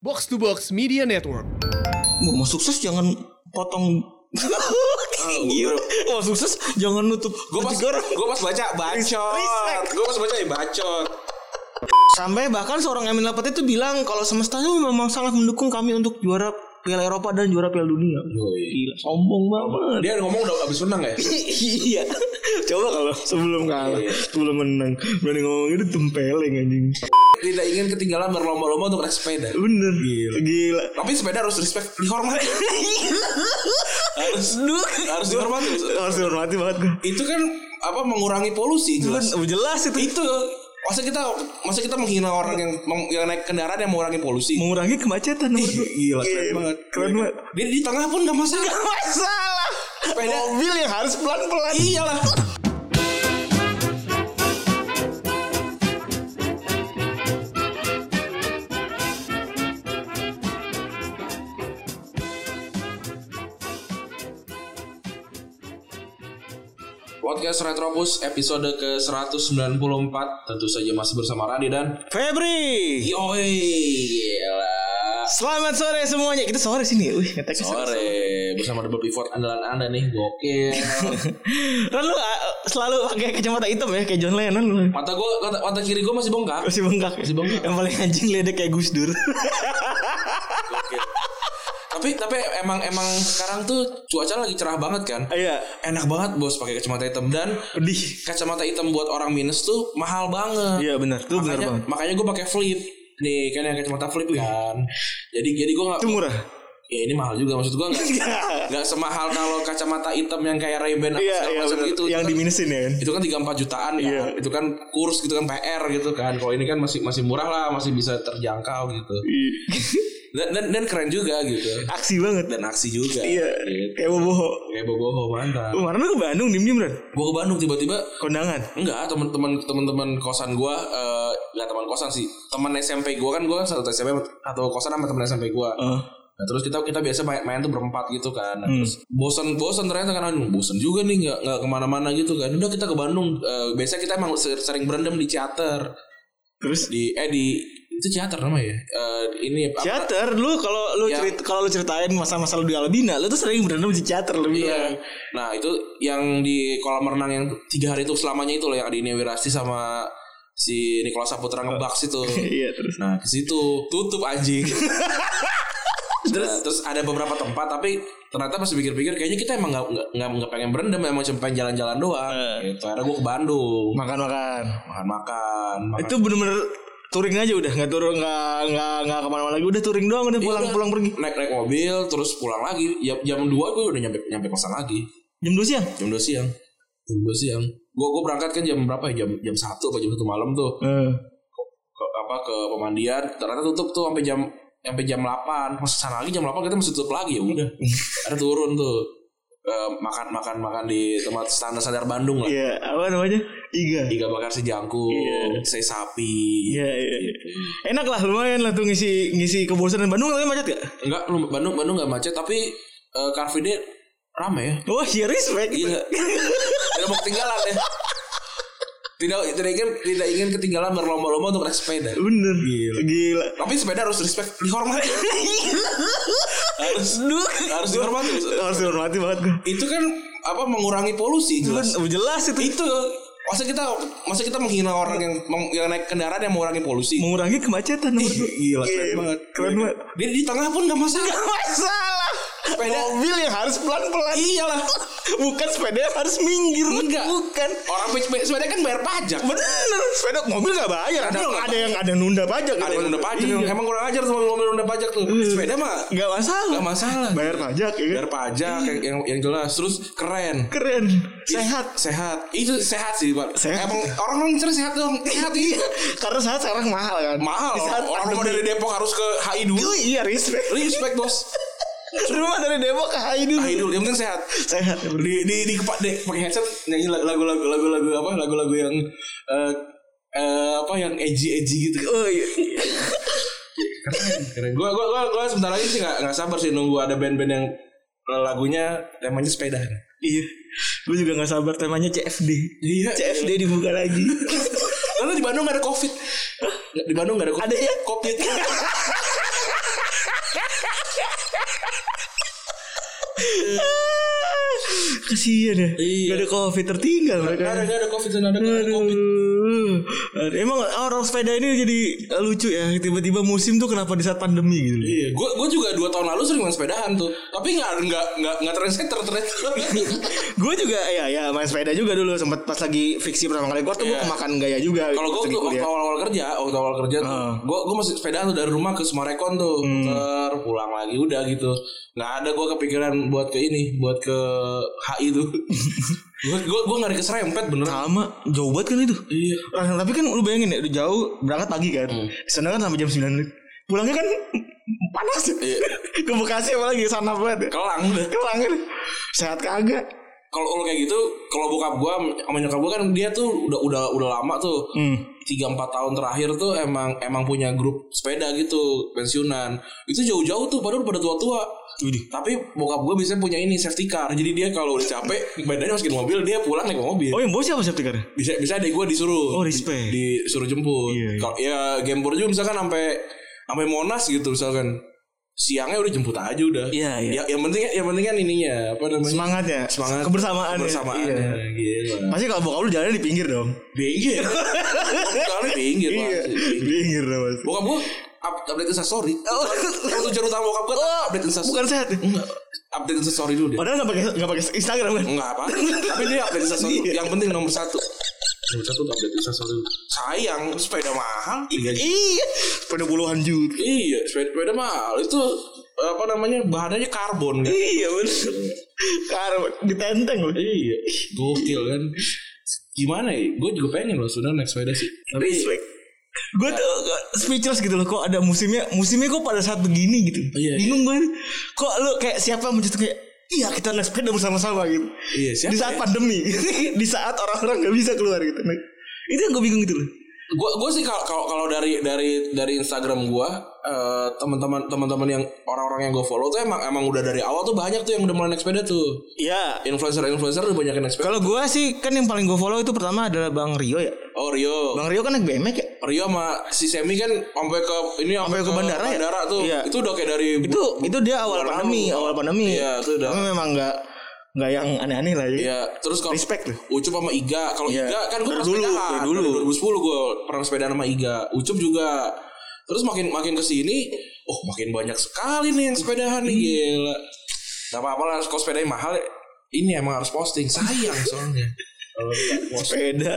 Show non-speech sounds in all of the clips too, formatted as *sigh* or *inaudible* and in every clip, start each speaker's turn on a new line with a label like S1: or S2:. S1: Box to Box Media Network.
S2: Wah, mau sukses jangan potong Gila. Mau sukses jangan nutup
S3: Gue pas gue pas baca bacot. Gue pas baca ya bacot.
S2: Sampai bahkan seorang Emin Laporte itu bilang kalau semesta itu memang sangat mendukung kami untuk juara Piala Eropa dan juara Piala Dunia. Gila, sombong
S3: *laughs*
S2: banget.
S3: Dia ngomong udah abis menang ya.
S2: iya. Coba kalau sebelum kalah,
S3: Iya.
S2: sebelum menang, berani ngomong itu tempeleng anjing.
S3: Tidak ingin ketinggalan berlomba-lomba untuk naik sepeda.
S2: Bener. Gila. Gila.
S3: Tapi sepeda harus respect, dihormati. harus, harus dihormati.
S2: Harus dihormati banget gue.
S3: Itu kan apa mengurangi polusi jelas.
S2: jelas itu.
S3: Itu masa kita masa kita menghina orang yang yang naik kendaraan yang mengurangi polusi.
S2: mengurangi kemacetan nomor dua.
S3: Gila, keren banget.
S2: Keren banget.
S3: Dia di tengah pun gak masalah.
S2: Masalah.
S3: Sepeda.
S2: Mobil yang harus pelan-pelan.
S3: Iyalah. Podcast Retropus episode ke-194 Tentu saja masih bersama Rani dan
S2: Febri.
S3: Yoi Gila
S2: Selamat sore semuanya. Kita sore sini. ya. Wih, ngeteknya *laughs* sore.
S3: Sore Bersama Double Pivot andalan anda nih Gokil
S2: Ran lu ah, selalu pakai kacamata hitam ya kayak John Lennon lu.
S3: Mata gue Mata kiri gue masih bengkak
S2: Masih bengkak.
S3: Masih bengkak.
S2: Yang paling anjing ledek kayak Gus Dur.
S3: tapi tapi emang emang sekarang tuh cuaca lagi cerah banget kan
S2: Iya.
S3: enak banget bos pakai kacamata hitam dan
S2: Pedih.
S3: kacamata hitam buat orang minus tuh mahal banget
S2: Iya benar. Itu benar
S3: makanya
S2: banget.
S3: makanya gue pakai flip nih kan yang kacamata flip kan jadi jadi gue nggak
S2: Itu murah.
S3: ya ini mahal juga maksud gue nggak nggak semahal kalau kacamata hitam yang kayak Ray Ban
S2: *laughs* Iya, iya benar.
S3: itu
S2: Yang
S3: Itu kan-
S2: diminusin ya kan.
S3: itu kan tiga empat jutaan kan
S2: Iya.
S3: itu kan kurs gitu kan PR gitu kan kalau ini kan masih masih murah lah masih bisa terjangkau gitu dan dan, dan keren juga gitu
S2: Aksi banget.
S3: dan aksi juga
S2: Iya.
S3: Gitu.
S2: Kayak boboho.
S3: Kayak boboho mantap.
S2: Kemarin lu ke Bandung diem-diem Ran.
S3: Gue ke Bandung tiba-tiba
S2: Kondangan.
S3: enggak teman-teman teman-teman kosan gue eh enggak teman kosan sih teman SMP gue kan gue satu SMP atau kosan sama teman SMP gue
S2: Heeh.
S3: Nah, terus kita kita biasa main, main tuh berempat gitu kan. Nah, Terus bosan bosan ternyata kan aduh, bosan juga nih nggak nggak kemana-mana gitu kan. Udah kita ke Bandung. Eh, biasa kita emang ser- sering berendam di Ciater.
S2: Terus
S3: Di eh di itu Ciater namanya. ya? Eh ini apa?
S2: Chatter lu kalau lu
S3: Ya.
S2: cerit kalau lu ceritain masa-masa lu di Albina, lu tuh sering berantem di chatter lu bilang.
S3: Iya. Nah itu yang di kolam renang yang tiga hari itu selamanya itu loh yang ada Nia Wirasti sama si Nikola Saputra ngebaks itu.
S2: Iya terus.
S3: Nah ke situ tutup anjing. terus, terus ada beberapa tempat tapi ternyata pas pikir-pikir kayaknya kita emang nggak nggak- nggak nggak pengen berendam emang cuma pengen jalan-jalan doang. Gitu. Akhirnya gue ke Bandung
S2: Makan-makan.
S3: makan-makan. makan.
S2: Itu bener-bener touring aja udah nggak turun nggak nggak nggak kemana-mana lagi udah touring doang udah pulang
S3: udah.
S2: pulang pergi
S3: naik naik mobil terus pulang lagi jam jam dua gue udah nyampe nyampe kosan lagi
S2: jam dua siang
S3: jam 2 siang jam 2 siang gue gue berangkat kan jam berapa ya jam jam satu apa jam satu malam tuh
S2: Eh.
S3: ke, apa ke pemandian ternyata tutup tuh sampai jam sampai jam 8 masuk sana lagi jam 8 kita masih tutup lagi
S2: *laughs*
S3: ya udah ada turun tuh Eh, makan makan makan di tempat standar standar Bandung lah
S2: iya apa namanya iga
S3: tiga bakar sejangkung saya sapi
S2: iya iya iya. enak lah lumayan lah tuh ngisi ngisi kebosanan Bandung lagi macet gak
S3: enggak lu- Bandung Bandung nggak macet tapi eh, Car Free Day rame ya
S2: wah ya respect
S3: Gila. Tidak mau ketinggalan ya. Tidak tidak ingin tidak ingin ketinggalan berlomba-lomba untuk naik sepeda.
S2: bener gila gila
S3: Tapi sepeda harus respect dihormati.
S2: *laughs*
S3: harus harus dihormati.
S2: harus dihormati banget gue
S3: Itu kan apa mengurangi polusi
S2: kan
S3: jelas.
S2: jelas itu
S3: Itu masa kita masa kita menghina orang yang yang naik kendaraan yang mengurangi polusi.
S2: mengurangi kemacetan nomor dua.
S3: Gila keren banget.
S2: keren banget
S3: Dia di tengah pun gak masalah.
S2: masalah
S3: Sepeda.
S2: mobil yang harus pelan-pelan iyalah bukan sepeda yang harus minggir
S3: Enggak.
S2: bukan
S3: Orang sepeda kan bayar pajak.
S2: bener sepeda mobil nggak bayar ada,
S3: Ada
S2: yang-
S3: nggak
S2: ada yang ada yang nunda pajak gitu.
S3: Ada yang nunda pajak.
S2: Iya.
S3: Emang kurang ajar tuh mobil nunda pajak tuh. Sepeda mah
S2: nggak masalah
S3: Gak masalah.
S2: Iya. bayar pajak ya kan?
S3: Bayar pajak yang, yang yang jelas terus keren.
S2: keren sehat
S3: Sehat. Itu sehat sih, Pak.
S2: Sehat.
S3: Emang orang orang cerdas sehat dong. Sehat iya.
S2: karena sehat sekarang mahal kan
S3: Mahal.
S2: Di saat
S3: Orang, orang mau
S2: pandemi.
S3: dari Depok harus ke HI dulu.
S2: Gila, iya
S3: *laughs*
S2: respect
S3: Respect, Bos.
S2: rumah dari Depok ke HI dulu
S3: HI dulu yang penting sehat.
S2: sehat
S3: Di di di kepa- di- pakai headset nyanyi lagu-lagu lagu-lagu apa? Lagu-lagu yang eh eh, apa yang edgy edgy gitu
S2: oh iya
S3: keren keren *laughs* gua gua gua, gua sebentar lagi sih nggak nggak sabar sih nunggu ada band-band yang lagunya temanya sepeda
S2: iya gue juga nggak sabar temanya CFD
S3: Iya.
S2: CFD dibuka lagi
S3: *laughs*
S2: Iya
S3: Karena di Bandung gak ada covid Di Bandung gak ada covid
S2: Ada ya?
S3: Covid
S2: Kasian ya.
S3: Iya.
S2: Gak ada covid tertinggal mereka.
S3: Nggak ada nggak ada covid nggak ada covid
S2: Aduh. Aduh, Emang orang sepeda ini jadi eh, lucu ya Tiba-tiba musim tuh kenapa di saat pandemi gitu loh.
S3: Iya, gue gue juga dua tahun lalu sering main sepedahan tuh, tapi nggak nggak nggak nggak trendsetter ternyata.
S2: Gue juga ya ya main sepeda juga dulu sempet pas lagi fiksi pertama kali keluar tuh gue
S3: Iya.
S2: kemakan gaya juga
S3: Kalau gue
S2: Pas
S3: tuh
S2: lagi
S3: waktu
S2: kuliah.
S3: awal-awal kerja, waktu awal kerja tuh, gue gue masih sepedaan tuh dari rumah ke Sumarekon tuh, muter pulang lagi udah gitu. Nggak ada gue kepikiran buat ke ini, buat ke HI tuh. gue gue gue nggak ada keserempet bener.
S2: Sama jauh banget kan itu
S3: Iya.
S2: Rasanya- Tapi kan lu bayangin ya udah jauh berangkat pagi kan
S3: Hmm.
S2: Sana kan sampai jam 9 menit Pulangnya kan panas ya *laughs* Ke Bekasi apalagi sana banget ya.
S3: Iya. Kelang udah.
S2: Kelang kan Sehat kagak
S3: Kalau lo kayak gitu, kalau bokap gue sama nyokap gue kan dia tuh udah udah udah lama tuh.
S2: Hmm.
S3: tiga empat tahun terakhir tuh emang emang punya grup sepeda gitu pensiunan itu jauh-jauh tuh padahal pada tua-tua tapi bokap gue biasanya punya ini safety car jadi dia kalau udah capek badannya masukin mobil dia pulang naik mobil
S2: Oh yang bawa siapa safety car-nya?
S3: bisa bisa ada gue disuruh
S2: Oh, respect.
S3: Di- disuruh jemput
S2: Iya, iya.
S3: kalau ya gembor juga misalkan sampai sampai monas gitu misalkan siangnya udah jemput aja udah
S2: Iya, iya.
S3: Ya, yang penting yang penting kan ininya apa namanya
S2: Semangatnya
S3: semangat
S2: ya. Kebersamaan
S3: kebersamaan
S2: Iya.
S3: gila
S2: Pasti kalau bokap lu jalannya di pinggir dong *laughs* Iya,
S3: pinggir kalau pinggir Iya, pasti.
S2: Pinggir dong mas
S3: Bokap gue up, update instastory Oh Tujuan utama bokap gue update instastory
S2: Oh. Bukan Oh. sehat ya?
S3: Update instastory dulu dia
S2: Padahal gak pakai gak pakai Instagram kan?
S3: Enggak apa Tapi dia update instastory dulu.
S2: Iya.
S3: Yang penting nomor satu Nomor satu tuh update instastory dulu. Sayang sepeda mahal Tiga juta.
S2: Iya Pada puluhan juta
S3: Iya sepeda, sepeda mahal Itu apa namanya bahannya karbon kan
S2: Iya bener Karena ditenteng loh
S3: Iya Gokil kan Gimana ya Gue juga pengen loh sebenernya naik sepeda sih Tapi
S2: Respect Gue tuh gua- speechless gitu loh Kok ada musimnya Musimnya kok pada saat begini gitu
S3: Iya,
S2: Bingung gue Kok lu kayak siapa yang mencetus kayak Iya kita naik sepeda bersama-sama gitu
S3: Iya, siapa
S2: Di saat
S3: ya?
S2: pandemi *laughs* Di saat orang-orang gak bisa keluar gitu Nah, Itu yang gue bingung gitu loh
S3: gua gua sih kalau kalau kalau dari dari dari Instagram gua eh, teman-teman teman-teman yang orang-orang yang gua follow tuh emang emang udah dari awal tuh banyak tuh yang udah mulai naik sepeda tuh
S2: Iya
S3: influencer-influencer udah banyak yang naik sepeda
S2: Kalau gue sih kan yang paling gue follow itu pertama adalah Bang Rio ya
S3: oh Rio
S2: Bang Rio kan naik BMX ya
S3: Rio sama si Semi kan sampai ke ini sampai
S2: Sampai ke bandara ya?
S3: tuh
S2: Iya.
S3: itu udah kayak dari
S2: itu itu dia awal
S3: bulan
S2: pandemi
S3: lalu.
S2: awal pandemi
S3: Iya, itu udah.
S2: Tapi memang nggak nggak yang aneh-aneh lah ya
S3: Iya, terus kalau
S2: Respect tuh.
S3: Ucup sama Iga, kalau
S2: Iya.
S3: Iga kan gue pernah
S2: Dari dulu,
S3: sepedahan.
S2: dari dulu.
S3: Dari 2010 gue pernah sepeda sama Iga. Ucup juga. Terus makin makin ke sini, oh makin banyak sekali nih yang sepedahan nih gila. Gak apa-apa lah kalau sepedanya mahal ini emang harus posting. Sayang soalnya. Kalau nggak posting.
S2: sepeda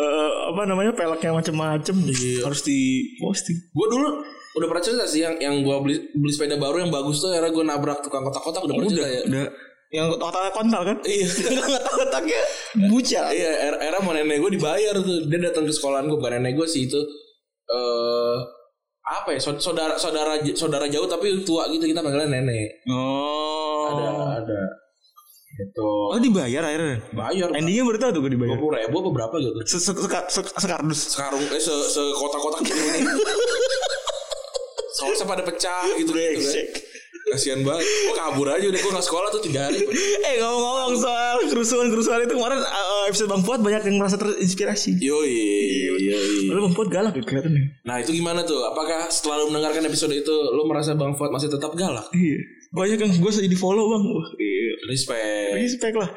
S2: eh, apa namanya peleknya macem-macem Iya, harus di posting
S3: Gue dulu udah pernah cerita sih yang yang gue beli beli sepeda baru yang bagus tuh era gue nabrak tukang kotak-kotak udah pernah cerita ya.
S2: udah yang otaknya kontal kan *laughs*
S3: Iya.
S2: otak-otaknya bucal
S3: Iya, era, era mau nenek gue dibayar tuh. Dia datang ke sekolahan gue, bukan nenek gue sih itu. Eh apa ya? saud- Saudara saudara j- saudara jauh tapi tua gitu kita panggilnya nenek. Ada
S2: oh
S3: ada. Itu
S2: oh dibayar akhirnya
S3: bayar
S2: endingnya baru tahu tuh gue dibayar
S3: dua puluh ribu apa berapa gitu.
S2: Se- se- seka- se- sekardus
S3: Sekarung eh se se kotak-kotak gitu
S2: *laughs*
S3: nih. Sausnya pada pecah gitu gitu kan.
S2: Brengsek.
S3: Kasian banget. Gue kabur aja udah gue gak sekolah tuh tiga hari.
S2: eh ngomong-ngomong soal kerusuhan-kerusuhan itu kemarin eh, episode Bang Fuad banyak yang merasa terinspirasi
S3: Yoi, yoi.
S2: Lalu Bang Fuad galak ya kelihatannya
S3: Nah itu gimana tuh? Apakah setelah lu mendengarkan episode itu, lu merasa Bang Fuad masih tetap galak?
S2: Iya. Banyak yang gue jadi follow bang. Wah, iya.
S3: Respect.
S2: Respect lah.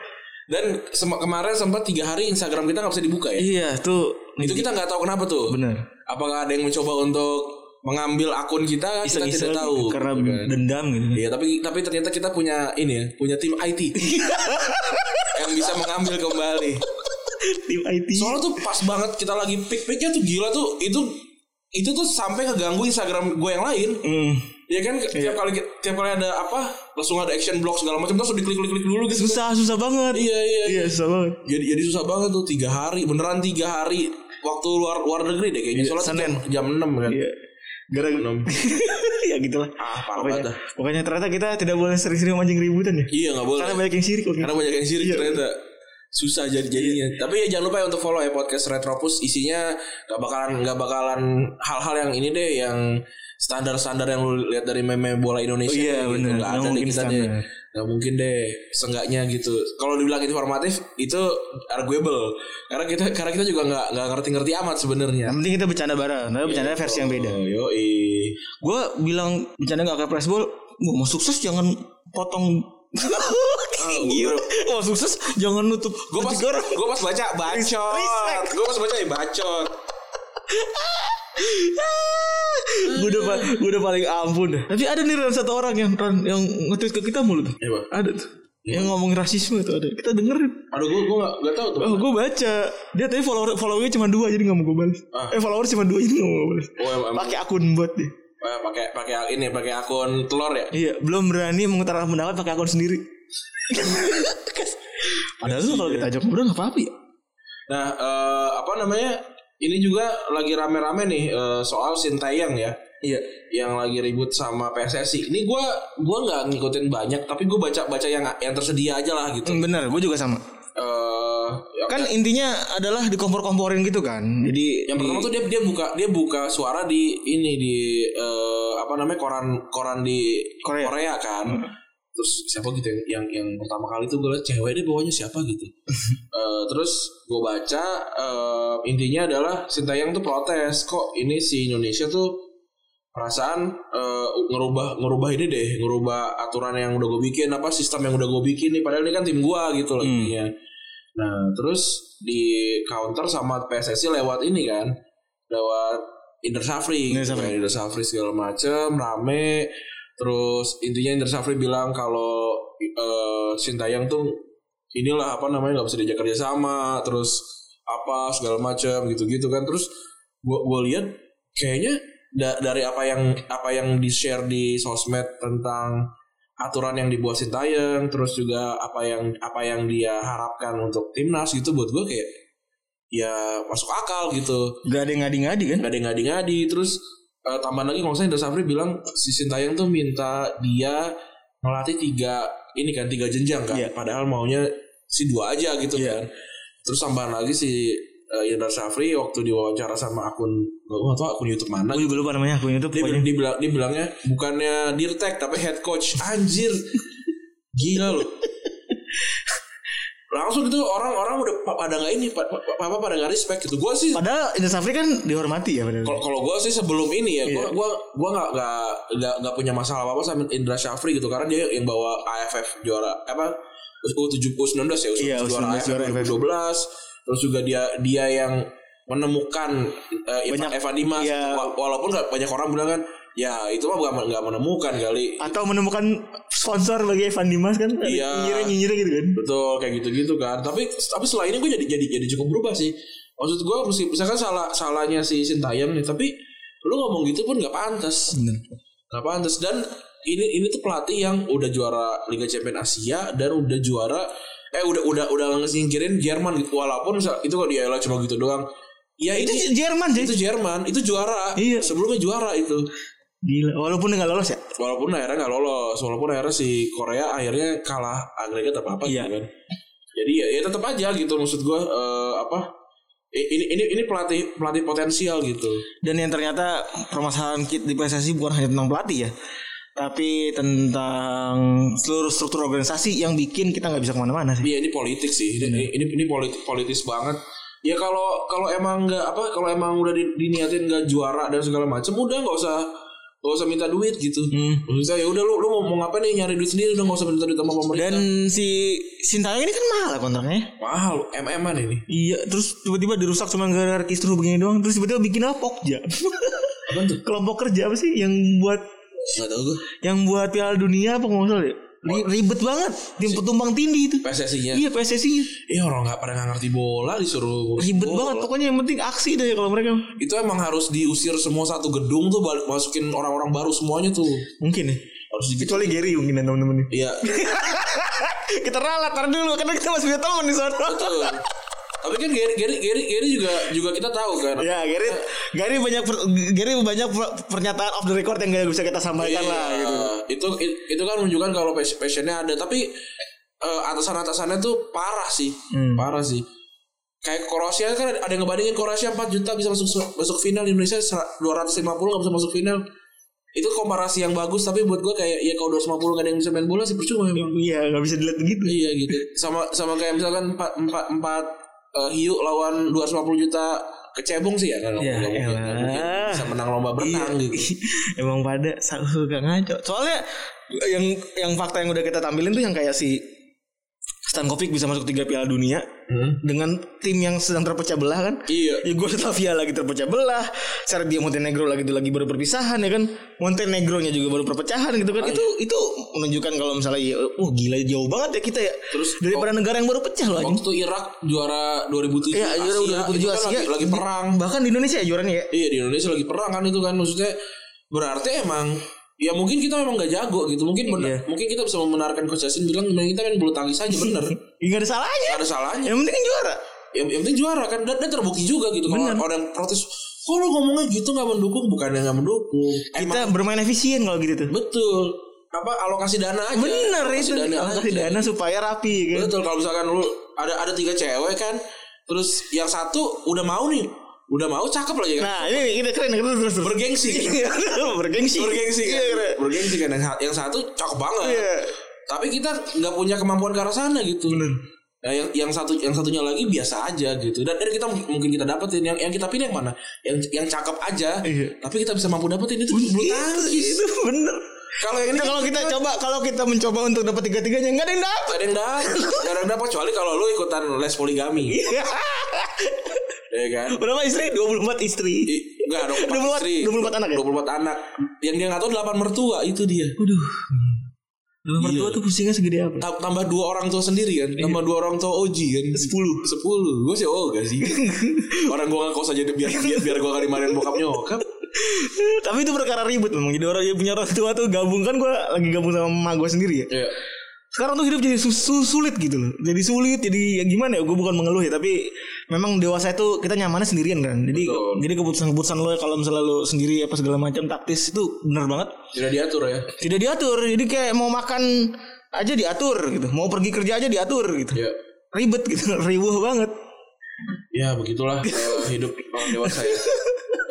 S3: Dan sem- kemarin sempat tiga hari Instagram kita nggak bisa dibuka ya.
S2: Iya tuh.
S3: Itu kita nggak tahu kenapa tuh.
S2: benar.
S3: Apakah ada yang mencoba untuk mengambil akun kita? Kita
S2: Iseng-iseng
S3: tidak tahu.
S2: Karena
S3: Gitu kan.
S2: dendam gitu.
S3: Iya, tapi tapi ternyata kita punya ini ya, punya tim IT *laughs* yang bisa mengambil kembali.
S2: Tim IT.
S3: Soalnya tuh pas banget kita lagi pick-picknya tuh gila tuh itu itu tuh sampai ngeganggu Instagram gue yang lain.
S2: Hmm.
S3: Iya kan tiap kali tiap kali ada apa langsung ada action block segala macam terus diklik klik klik dulu gitu.
S2: Susah susah banget.
S3: Iya iya.
S2: Iya susah banget.
S3: Jadi jadi susah banget tuh tiga hari beneran tiga hari waktu luar luar negeri deh kayaknya soalnya
S2: Iya, Senin.
S3: jam, jam 6 kan.
S2: Iya. *laughs* Gara ya gitulah.
S3: Ah parah
S2: Pokoknya,
S3: banget. dah.
S2: pokoknya ternyata kita tidak boleh sering-sering mancing keributan ya.
S3: Iya nggak boleh.
S2: Karena
S3: Karena,
S2: banyak Iya. yang sirik. Karena
S3: banyak yang sirik ternyata susah jadi jadinya.
S2: Iya.
S3: Tapi ya jangan lupa ya untuk follow ya podcast Retropus isinya nggak bakalan nggak bakalan hal-hal yang ini deh yang standar-standar yang lu lihat dari meme bola Indonesia
S2: Oh iya,
S3: deh,
S2: bener.
S3: nggak
S2: Nggak
S3: ada deh
S2: mungkin
S3: kita deh
S2: standar.
S3: nggak mungkin deh seenggaknya gitu kalau dibilang informatif itu arguable karena kita karena kita juga nggak nggak ngerti-ngerti amat sebenarnya
S2: yang penting kita
S3: Iya, Eh,
S2: bercanda bareng. Tapi bercanda versi yang beda.
S3: yo
S2: Gue bilang bercanda gak kayak press ball. Wah, mau sukses jangan potong
S3: *laughs*
S2: Ah, Gila. Mau sukses jangan nutup
S3: Gue Iya. pas
S2: rezeki orang.
S3: gue pas baca bacot.
S2: Respect.
S3: Gue pas baca ya bacot.
S2: gue udah pa- gua udah paling ampun dah. Tapi ada nih Ran, satu orang yang Ran, yang nge-tweet ke kita mulu tuh.
S3: Iya, Bang.
S2: Ada tuh.
S3: Iya.
S2: Yang ngomongin rasisme tuh ada. Kita dengerin.
S3: Aduh gue gue gak, gak tau tuh.
S2: Oh, gue baca. Dia tadi follower followernya cuma dua jadi nggak mau gue balas.
S3: Ah.
S2: Eh follower cuma dua jadi nggak mau gue balas.
S3: Oh, emang- emang-
S2: Pakai akun bot deh.
S3: Eh, pakai pakai ini pakai akun telur ya.
S2: Iya, belum berani mengutarakan pendapat pakai akun *laughs* sendiri. Padahal tuh kalau kita ajak ngobrol nggak apa-apa ya.
S3: Nah, eh, apa namanya? Ini juga lagi rame-rame nih eh, soal Sintayang ya.
S2: Iya.
S3: yang lagi ribut sama PSSI. Ini gue gua nggak ngikutin banyak, tapi gue baca baca yang yang tersedia aja lah gitu.
S2: Hmm, Bener, gue juga sama.
S3: Eh, ya,
S2: Kan intinya adalah dikompor-komporin gitu kan. Jadi
S3: Hmm. yang pertama tuh dia dia buka dia buka suara di ini di eh, apa namanya koran koran di
S2: Korea.
S3: Korea, kan. Terus siapa gitu yang yang, yang pertama kali tuh gue liat cewek dia bawahnya siapa gitu. Eh, terus gue baca eh, intinya adalah Sintayang tuh protes kok ini si Indonesia tuh perasaan eh, ngerubah ngerubah ini deh ngerubah aturan yang udah gue bikin apa sistem yang udah gue bikin nih padahal ini kan tim gua gitu loh intinya. nah terus di counter sama PSSI lewat ini kan lewat Inder Safri
S2: Inder
S3: gitu
S2: Safri.
S3: kan. Inder Safri segala macem rame terus intinya Inder Safri bilang kalau eh, Sintayang tuh inilah apa namanya nggak bisa diajak kerja sama terus apa segala macam gitu-gitu kan terus gua gua lihat kayaknya da- dari apa yang apa yang di share di sosmed tentang aturan yang dibuat Sintayong terus juga apa yang apa yang dia harapkan untuk timnas gitu buat gua kayak ya masuk akal gitu
S2: gak ada yang ngadi-ngadi kan.
S3: nggak ada yang ngadi-ngadi terus eh, tambahan lagi kalau saya Indra Safri bilang si Sintayong tuh minta dia ngelatih tiga ini kan tiga jenjang kan
S2: Iya.
S3: padahal maunya si dua aja gitu
S2: Iya.
S3: kan terus tambahan lagi si eh, Indra Safri waktu diwawancara sama akun gue nggak tahu akun YouTube mana
S2: Gue juga lupa namanya akun YouTube
S3: dia,
S2: pokoknya.
S3: dia, bilang, dia bilangnya bukannya dirtek tapi head coach anjir gila loh langsung gitu orang-orang udah pa- pada nggak ini pa- pa- apa pada nggak respect gitu gue sih
S2: Padahal Indra Safri kan dihormati ya padahal.
S3: kalau kalau gue sih sebelum ini ya,
S2: Iya.
S3: gue gua gua nggak nggak nggak nggak punya masalah apa apa sama Indra Syafri gitu karena dia yang bawa AFF juara apa U7 U19 ya U19
S2: Iya,
S3: juara
S2: U19
S3: AFF
S2: juara AFF.
S3: 12 terus juga dia dia yang menemukan eh, Ivan-
S2: Banyak-
S3: Evan Dimas
S2: iya.
S3: Wa- walaupun nggak banyak orang bilang kan ya itu mah bukan nggak menemukan kali
S2: Atau menemukan sponsor bagi Evan Dimas kan.
S3: Iya.
S2: Nyinyirin-nyinyirin gitu kan.
S3: Betul kayak gitu-gitu kan. Tapi tapi setelah ini gue jadi jadi jadi cukup berubah sih. Maksud gue mesti misalkan salah salahnya si Sintayong nih, tapi lu ngomong gitu pun nggak pantas.
S2: Bener.
S3: Nggak pantas Nah, dan ini ini tuh pelatih yang udah juara Liga Champion Asia dan udah juara eh udah udah udah ngesingkirin Jerman gitu walaupun misal- itu kok dia cuma gitu doang. Ya
S2: Itu
S3: itu
S2: Jerman sih.
S3: itu Jerman, itu juara.
S2: Iya.
S3: Sebelumnya juara itu.
S2: Gila. Walaupun nggak lolos ya.
S3: Walaupun akhirnya nggak lolos, walaupun akhirnya si Korea akhirnya kalah agregat apa apa
S2: Iya.
S3: gitu kan. Jadi ya, ya tetap aja gitu maksud gua eh, apa? i- Ini ini ini pelatih pelatih potensial gitu.
S2: Dan yang ternyata permasalahan kit di PSSI bukan hanya tentang pelatih ya, tapi tentang seluruh struktur organisasi yang bikin kita nggak bisa kemana-mana sih.
S3: Iya ini politik sih. Ini ini, ini, ini politik politis banget. Ya kalau kalau emang nggak apa kalau emang udah di- diniatin nggak juara dan segala macam udah nggak usah nggak usah minta duit gitu.
S2: Hmm.
S3: Maksudnya ya udah lu lu mau, mau ngapain nih nyari duit sendiri udah nggak usah minta duit sama pemerintah.
S2: Dan si Sintayong ini kan mahal kontraknya.
S3: mahal MM-an ini.
S2: Iya, terus tiba-tiba dirusak cuma gara-gara kisruh begini doang. Terus tiba-tiba bikin apa? Pokja.
S3: Apaan tuh?
S2: Kelompok kerja apa sih yang buat
S3: Nggak tahu gue.
S2: yang buat Piala Dunia apa nggak salah ya? Ri- Ribet banget, tim petumpang tindih itu.
S3: PSSI-nya.
S2: Iya PSSI
S3: Eh orang nggak pada nggak ngerti bola disuruh ngurus
S2: ribet
S3: bola.
S2: banget. Pokoknya yang penting aksi deh kalau mereka.
S3: Itu emang harus diusir semua satu gedung tuh balik masukin orang-orang baru semuanya tuh
S2: Mungkin ya.
S3: harus di
S2: Kecuali Gary mungkin ya, teman-teman. nih.
S3: Iya.
S2: *laughs*
S3: *laughs*
S2: kita ralat tar dulu karena kita masih punya teman di *laughs* sana.
S3: betul. Tapi kan Gary Gary Gary Gary juga juga kita tahu kan.
S2: Ya, Gary, Gary banyak per- Gary banyak per- pernyataan off the record yang gak bisa kita sampaikan lah
S3: Iya.
S2: gitu.
S3: Itu i- itu kan menunjukkan kalau pas- passionnya ada, tapi eh, atasan-atasannya tuh parah sih. Parah sih. Kayak Kroasia kan ada yang ngebandingin Kroasia 4 juta bisa masuk masuk final Indonesia ser- 250 nggak bisa masuk final. Itu komparasi yang bagus tapi buat gua kayak ya kalau 250 gak ada yang bisa main bola sih percuma emang.
S2: Iya, gak bisa dilihat begitu.
S3: Iya gitu. Sama sama kayak misalkan 4 empat empat eh, hiu lawan 250 juta kecebong sih ya kan
S2: Ya, elah.
S3: iya. *laughs*
S2: *laughs*
S3: bisa menang lomba berenang gitu.
S2: Emang pada suka ngaco. Soalnya yang yang fakta yang udah kita tampilin tuh yang kayak si Stankovic bisa masuk tiga Piala Dunia dengan tim yang sedang terpecah belah kan?
S3: Hmm. Iya.
S2: Yugoslavia lagi terpecah belah, Serbia Montenegro lagi lagi baru perpisahan ya kan? Montenegronya juga baru perpecahan gitu
S3: Ah, iya.
S2: kan? Itu itu menunjukkan kalau misalnya ya, wah gila jauh banget ya kita ya.
S3: Terus, oh.
S2: daripada negara yang baru pecah loh
S3: Waktu
S2: anjing.
S3: itu Irak juara 2007
S2: Iya, juara
S3: Asia,
S2: udah
S3: itu kan
S2: Asia.
S3: lagi, lagi perang.
S2: Bahkan di Indonesia ya juaranya ya.
S3: Iya di Indonesia lagi perang kan itu kan maksudnya berarti emang ya mungkin kita memang gak jago gitu mungkin
S2: Iya.
S3: bener- mungkin kita bisa membenarkan Coach Justin bilang "Nah, kita main bulu tangkis aja
S2: *laughs*
S3: bener
S2: Enggak ada salahnya.
S3: Gak ada salahnya
S2: Yang penting kan juara.
S3: yang, yang penting juara kan dan, dan terbukti juga gitu kalau orang protes kok lu ngomongnya gitu gak mendukung bukan yang gak mendukung
S2: Kita bermain efisien kalau gitu tuh.
S3: betul apa alokasi dana aja
S2: Bener ya
S3: alokasi
S2: itu
S3: dana
S2: alokasi
S3: aja.
S2: dana supaya rapi ya kan.
S3: Betul kalau misalkan lu ada ada tiga cewek kan, terus yang satu udah mau nih, udah mau cakep lagi kan.
S2: Nah ini kita keren keren terus terus.
S3: Bergengsi kan.
S2: *laughs* Bergengsi.
S3: Bergengsi kan.
S2: Iya, keren.
S3: Bergengsi kan yang, yang satu cakep banget.
S2: Iya.
S3: Tapi kita nggak punya kemampuan ke arah sana gitu. Nah, yang yang satu yang satunya lagi biasa aja gitu. Dan, dan kita mungkin kita dapetin yang yang kita pilih yang mana? Yang yang cakep aja.
S2: Iya.
S3: Tapi kita bisa mampu dapetin itu bulu tangkis.
S2: Itu bener.
S3: Kalau yang ini
S2: Kita kalau
S3: *laughs*
S2: kita coba kalau kita mencoba untuk dapat tiga tiganya nggak ada yang dapat.
S3: gak ada yang dapat, gak ada yang dapat kecuali kalau lu ikutan les poligami.
S2: Iya.
S3: ya kan?
S2: Berapa istri? 24 istri.
S3: I- Enggak dong,
S2: 24 24 anak ya?
S3: 24 anak. Yang dia nggak tahu 8 mertua itu dia.
S2: Waduh. Dalam mertua tuh pusingnya segede apa?
S3: Ta- Tambah dua orang tua sendiri kan, tambah dua orang tua Oji kan. 10. 10. Gue sih oh gak *laughs* sih. orang gua ngekos aja deh, biar biar, biar gua gak dimarahin bokap nyokap.
S2: *laughs* Tapi itu perkara ribut memang. Jadi orang yang punya orang tua tuh gabung kan gue lagi gabung sama emak gue sendiri ya.
S3: Iya.
S2: Sekarang tuh hidup jadi su- su- sulit gitu loh. Jadi sulit, jadi ya gimana ya? Gue bukan mengeluh ya, tapi memang dewasa itu kita nyamannya sendirian kan. Jadi
S3: Betul.
S2: jadi keputusan-keputusan lo ya, kalau misalnya lo sendiri apa segala macam taktis itu bener banget.
S3: Tidak diatur ya.
S2: Tidak diatur. Jadi kayak mau makan aja diatur gitu. Mau pergi kerja aja diatur gitu.
S3: Iya.
S2: Ribet gitu, *laughs* ribuh banget.
S3: Ya begitulah eh, hidup orang dewasa ya.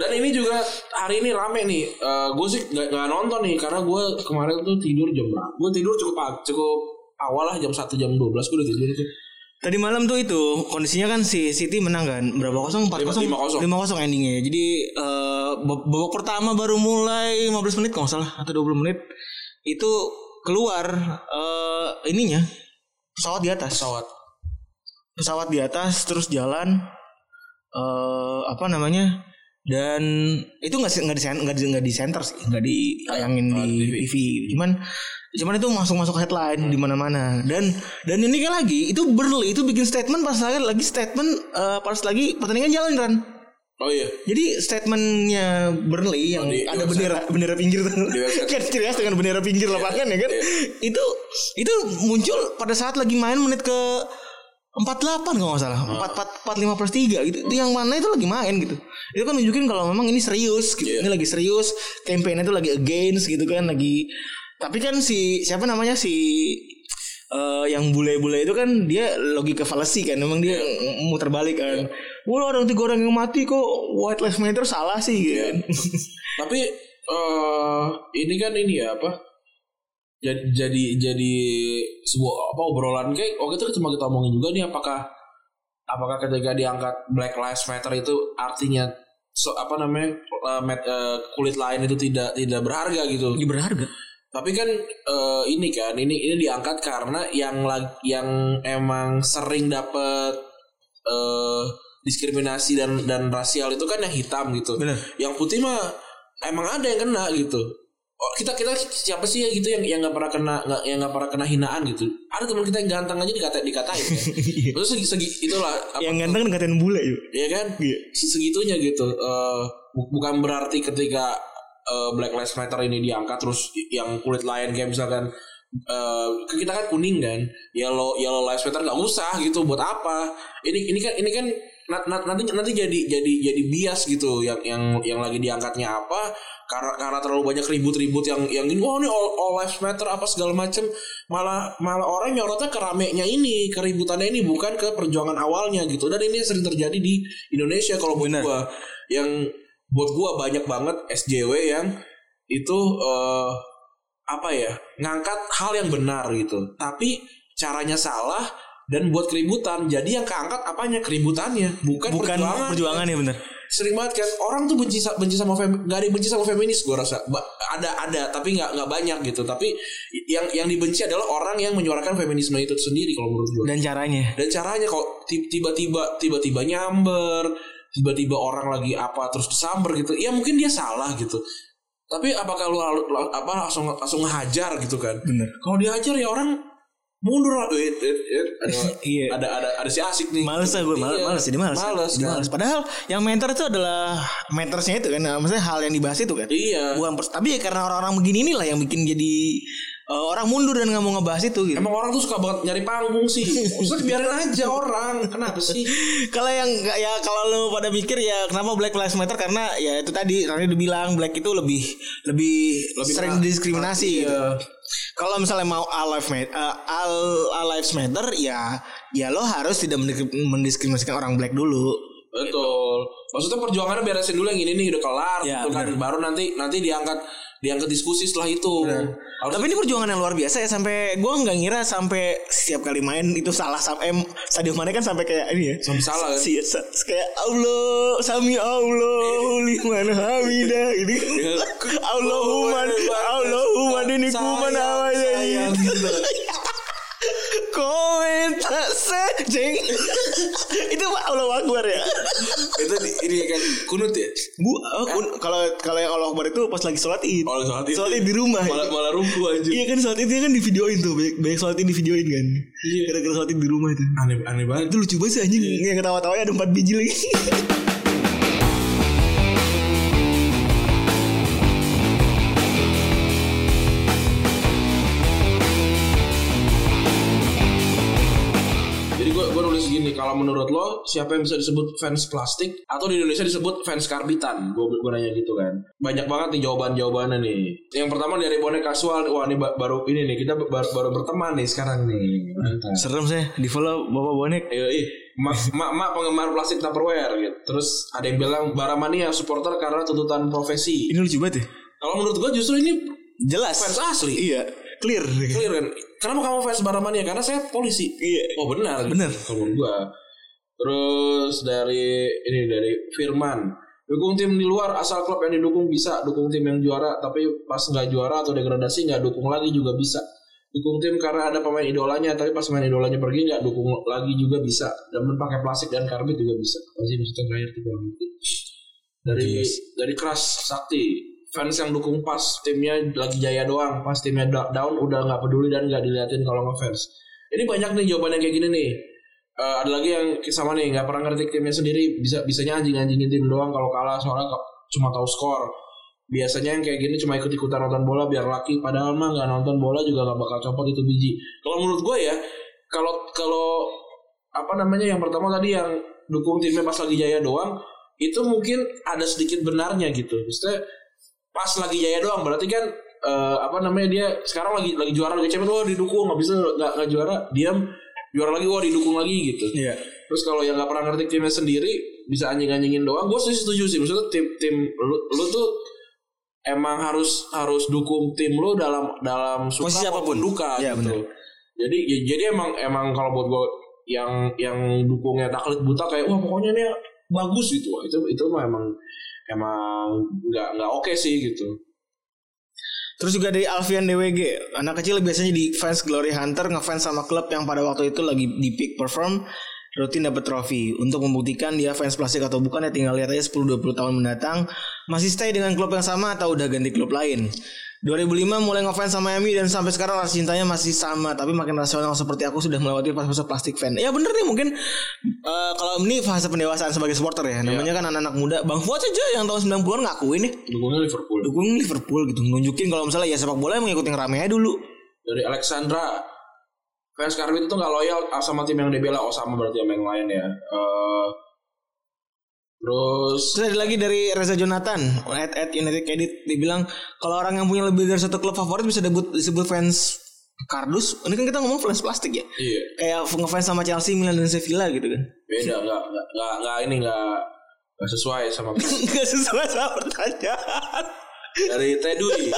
S3: Dan ini juga hari ini rame nih. gue sih nggak nggak nonton nih karena gue kemarin tuh tidur jam berapa? Gue tidur cukup pag- cukup awal lah jam 1 jam 12 gue udah tidur tuh.
S2: Tadi malam tuh itu kondisinya kan si City menang kan berapa kosong empat kosong
S3: Lima- lima kosong.
S2: endingnya jadi eh, bab- babak pertama baru mulai 15 menit kalau nggak salah atau 20 menit itu keluar eh, ininya pesawat di atas
S3: Pesawat.
S2: pesawat di atas terus jalan eh apa namanya dan itu nggak sih- nggak di nggak di nggak di center sih nggak ditayangin
S3: Oh,
S2: di TV. cuman cuman itu masuk masuk headline di mana mana dan dan ini kan lagi itu Burnley itu bikin statement pas lagi lagi statement eh, pas lagi pertandingan jalan Ran
S3: Oh iya.
S2: jadi statementnya Burnley yang
S3: Oh, di- di
S2: ada
S3: website.
S2: bendera bendera pinggir tuh
S3: website. Iya,
S2: kan ciri khas dengan bendera pinggir lapangan ya kan itu itu muncul pada saat lagi main menit ke 48 kalau nggak salah
S3: Hmm.
S2: 44 45 plus 3 gitu itu yang mana itu lagi main gitu itu kan nunjukin kalau memang ini serius gitu
S3: Iya.
S2: ini lagi serius campaign-nya itu lagi against gitu kan lagi tapi kan si siapa namanya si eh, yang bule-bule itu kan dia logika falasi kan memang dia
S3: Iya.
S2: muter balik kan wah ada tiga orang yang mati kok white lives matter salah sih gitu kan
S3: Iya. *laughs* Tapi eh ini kan ini ya apa? Jadi jadi jadi sebuah apa obrolan kayak waktu itu cuma kita omongin juga nih apakah apakah ketika diangkat Black Lives Matter itu artinya so, apa namanya eh, mat- eh, kulit lain itu tidak tidak berharga gitu.
S2: Ini berharga
S3: Tapi kan eh, ini kan ini ini diangkat karena yang lag- yang emang sering dapat eh, diskriminasi dan dan rasial itu kan yang hitam gitu.
S2: Bener.
S3: Yang putih mah emang ada yang kena gitu. Oh, kita kita siapa sih ya gitu yang yang nggak pernah kena nggak yang nggak pernah kena hinaan gitu. Ada teman kita yang ganteng aja dikata dikatain.
S2: *laughs*
S3: Ya. Terus segi segi itulah apa,
S2: yang ganteng ngatain bule yuk
S3: Iya kan?
S2: Iya.
S3: Segitunya gitu. Eh, bu- bukan berarti ketika eh, Black Lives Matter ini diangkat terus yang kulit lain kayak misalkan eh, kan kita kan kuning kan, yellow yellow lives matter nggak usah gitu buat apa? Ini ini kan ini kan na- na- nanti nanti jadi jadi jadi bias gitu yang yang yang lagi diangkatnya apa karena karena terlalu banyak ribut-ribut yang yang gini wah ini all, all lives matter apa segala macem malah malah orang nyorotnya ke ramenya ini keributannya ini bukan ke perjuangan awalnya gitu dan ini sering terjadi di Indonesia kalau buat
S2: Benar.
S3: gua yang buat gua banyak banget SJW yang itu eh, apa ya ngangkat hal yang benar gitu tapi caranya salah dan buat keributan jadi yang keangkat apanya keributannya bukan,
S2: bukan
S3: Kan perjuangan
S2: perjuangan ya bener
S3: sering banget kan orang tuh benci sa- benci sama fem gak ada yang benci sama feminis gue rasa Ba- ada ada tapi nggak nggak banyak gitu tapi yang yang dibenci adalah orang yang menyuarakan feminisme itu sendiri kalau menurut gue
S2: dan caranya
S3: dan caranya kok ti- tiba-tiba tiba-tiba nyamber tiba-tiba orang lagi apa terus disamber gitu ya mungkin dia salah gitu tapi apakah lu lalu- lalu- apa langsung langsung hajar gitu kan
S2: bener
S3: kalau dihajar ya orang mundur lah Eh, eh, eh, ada,
S2: Iya.
S3: ada ada ada si asik nih
S2: males lah gue males,
S3: Iya.
S2: males jadi males
S3: Males,
S2: Jadi
S3: kan.
S2: males. padahal yang mentor itu adalah mentorsnya itu kan maksudnya hal yang dibahas itu kan
S3: iya
S2: bukan pers- tapi ya karena orang-orang begini inilah yang bikin jadi eh, orang mundur dan nggak mau ngebahas itu gitu
S3: Emang orang tuh suka banget nyari panggung sih. Maksudnya biarin aja orang. Kenapa sih?
S2: kalau yang nggak- ya kalau lo pada mikir ya kenapa Black Lives Matter karena ya itu tadi karena dibilang black itu lebih lebih,
S3: Lebih
S2: sering
S3: kena-
S2: diskriminasi gitu.
S3: Iya.
S2: Kalau misalnya mau all life matter, all, all lives matter ya ya lo harus tidak mendik- mendiskriminasikan orang black dulu.
S3: Betul. Maksudnya perjuangannya beresin dulu yang ini nih udah kelar
S2: Iya,
S3: gitu kan. Baru nanti nanti diangkat diangkat diskusi setelah itu. Harus
S2: Tapi ini perjuangan yang luar biasa ya sampai gue nggak ngira sampai setiap kali main itu salah sampai em, stadion mana kan sampai kayak ini ya.
S3: Sampai salah, kan?
S2: Si, sa- kayak Allah sami Allah liman hamida
S3: *laughs*
S2: ini.
S3: Ya,
S2: Allahumma Allahumma dinikuman awalnya ini.
S3: Sayang,
S2: *laughs*
S3: gitu.
S2: Komentar sejeng. *laughs* itu Allah Akbar
S3: *laughs*
S2: ya.
S3: itu di- ini kan kunut ya.
S2: Bu, oh, kun- kalau kalau yang Allah Akbar itu pas lagi sholat id.
S3: Kalau Oh, sholat id.
S2: Sholat id di rumah.
S3: Malah malah rubuh aja.
S2: Iya kan sholat idnya kan di videoin tuh banyak, banyak sholat id di videoin kan.
S3: Iya.
S2: Gara-gara sholat id di rumah itu.
S3: Aneh aneh banget.
S2: Itu lucu banget sih anjing yang ketawa-tawanya ada 4 biji lagi.
S3: Jadi gue gue nulis gini, kalau menurut lo siapa yang bisa disebut fans plastik atau di Indonesia disebut fans karbitan? Gue gue nanya gitu kan. Banyak banget nih jawaban jawabannya nih. Yang pertama dari bonek kasual, wah ini ba- baru ini nih kita baru, baru berteman nih sekarang nih. Mantap.
S2: *laughs* Serem sih di follow bapak bonek.
S3: Ayo ih, mak mak mak penggemar plastik Tupperware gitu. Terus ada yang bilang baramania supporter karena tuntutan profesi.
S2: Ini lucu banget ya.
S3: Kalau menurut gue justru ini
S2: Jelas.
S3: fans asli.
S2: Iya. Clear.
S3: Clear kan? Kenapa kamu fans baramania? Karena saya polisi.
S2: Iya.
S3: Oh benar.
S2: Benar.
S3: Kalau menurut gua. Terus dari ini dari Firman. Dukung tim di luar asal klub yang didukung bisa, dukung tim yang juara tapi pas nggak juara atau degradasi nggak dukung lagi juga bisa. Dukung tim karena ada pemain idolanya tapi pas pemain idolanya pergi nggak dukung lagi juga bisa. Dan pakai plastik dan karbit juga bisa. Masih bisa terakhir tuh gua ngerti. Dari dari keras sakti fans yang dukung pas timnya lagi jaya doang pas timnya da- down udah nggak peduli dan nggak diliatin kalau ngefans ini banyak nih jawaban yang kayak gini nih Eh, ada lagi yang sama nih nggak pernah ngerti timnya sendiri bisa bisanya anjing anjingin tim doang kalau kalah soalnya ke- cuma tahu skor biasanya yang kayak gini cuma ikut ikutan nonton bola biar laki padahal mah nggak nonton bola juga nggak bakal copot itu biji kalau menurut gue ya kalau kalau apa namanya yang pertama tadi yang dukung timnya pas lagi jaya doang itu mungkin ada sedikit benarnya gitu maksudnya pas lagi jaya doang berarti kan eh, apa namanya dia sekarang lagi lagi juara lagi champion wah didukung nggak bisa nggak nggak juara diam juara lagi wah didukung lagi gitu
S2: Iya.
S3: terus kalau yang nggak pernah ngerti timnya sendiri bisa anjing-anjingin doang gue sih setuju sih maksudnya tim tim lu, lu tuh emang harus harus dukung tim lu dalam dalam suka
S2: Posisi apapun.
S3: maupun duka
S2: Iya,
S3: gitu jadi ya- jadi emang emang kalau buat gue yang yang dukungnya taklit buta kayak wah pokoknya dia bagus gitu Wah, itu itu mah emang emang nggak nggak oke sih gitu
S2: Terus juga dari Alfian DWG, anak kecil biasanya di fans Glory Hunter ngefans sama klub yang pada waktu itu lagi di peak perform rutin dapat trofi. Untuk membuktikan dia fans plastik atau bukan ya tinggal lihat aja 10 20 tahun mendatang masih stay dengan klub yang sama atau udah ganti klub lain. 2005 mulai ngefans sama Miami dan sampai sekarang rasa cintanya masih sama tapi makin rasional seperti aku sudah melewati fase-fase plastik fan. Ya bener nih mungkin eh, kalau ini fase pendewasaan sebagai supporter ya. Namanya kan anak-anak muda. Bang Fuad aja yang tahun 90-an ngakuin nih
S3: dukungnya Liverpool
S2: dukung Liverpool gitu nunjukin kalau misalnya ya sepak bola emang ngikutin rame aja dulu
S3: dari Alexandra fans Karwin itu nggak loyal sama tim yang dia bela oh sama berarti sama yang lain ya Eh, terus
S2: terus ada lagi dari Reza Jonathan at at United Edit dibilang kalau orang yang punya lebih dari satu klub favorit bisa debut disebut fans kardus ini kan kita ngomong fans plastik ya
S3: iya
S2: kayak ngefans sama Chelsea Milan dan Sevilla gitu kan *laughs*
S3: beda nggak nggak nggak- nggak ini nggak nggak sesuai sama
S2: nggak sesuai sama pertanyaan
S3: dari Tedui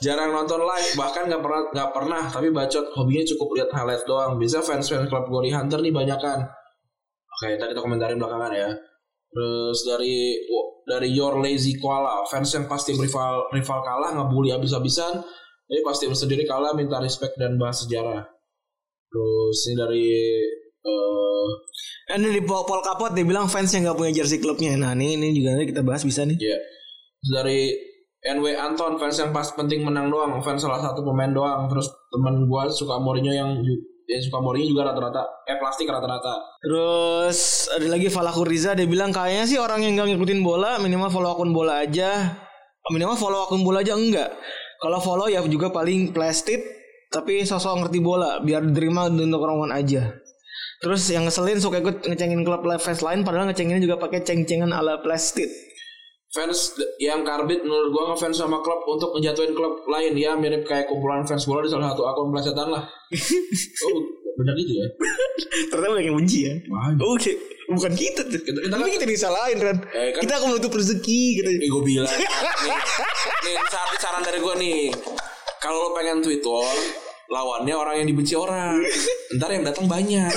S3: jarang nonton live bahkan nggak pernah nggak pernah tapi bacot hobinya cukup lihat highlight doang bisa fans fans klub Glory Hunter nih banyakan oke tadi kita komentarin belakangan ya Terus dari dari Your Lazy Koala, fans yang pasti rival rival kalah ngebully abis-abisan, jadi pasti sendiri kalah minta respect dan bahas sejarah. Terus ini dari eh
S2: Ini di Pol, Pol Kapot dia bilang fans yang nggak punya jersey klubnya. Nah ini ini juga nanti kita bahas bisa nih.
S3: ya dari NW Anton fans yang pas penting menang doang, fans salah satu pemain doang. Terus teman gua suka Mourinho yang ju- yang suka Mourinho juga rata-rata eh plastik rata-rata.
S2: Terus ada lagi Falakur Riza dia bilang kayaknya sih orang yang nggak ngikutin bola minimal follow akun bola aja. Minimal follow akun bola aja enggak. Kalau follow ya juga paling plastik tapi sosok ngerti bola biar diterima untuk orang aja. Terus yang ngeselin suka ikut ngecengin klub live fans lain padahal ngecenginnya juga pakai ceng-cengan ala plastik.
S3: Fans yang karbit menurut gua ngefans sama klub untuk menjatuhin klub lain ya mirip kayak kumpulan fans bola di salah satu akun pelajaran lah. oh benar gitu ya?
S2: *laughs* Ternyata banyak yang benci ya.
S3: Wah,
S2: Oke, bukan kita tuh.
S3: Kita-
S2: Kita,
S3: kita
S2: kita,
S3: kan-
S2: disalahin Ren.
S3: Eh, kan-
S2: kita akan menutup rezeki gitu. *laughs*
S3: Eh gue bilang Nih, nih saran, saran dari gue nih Kalau lo pengen Twitter Lawannya orang yang dibenci orang Ntar yang datang banyak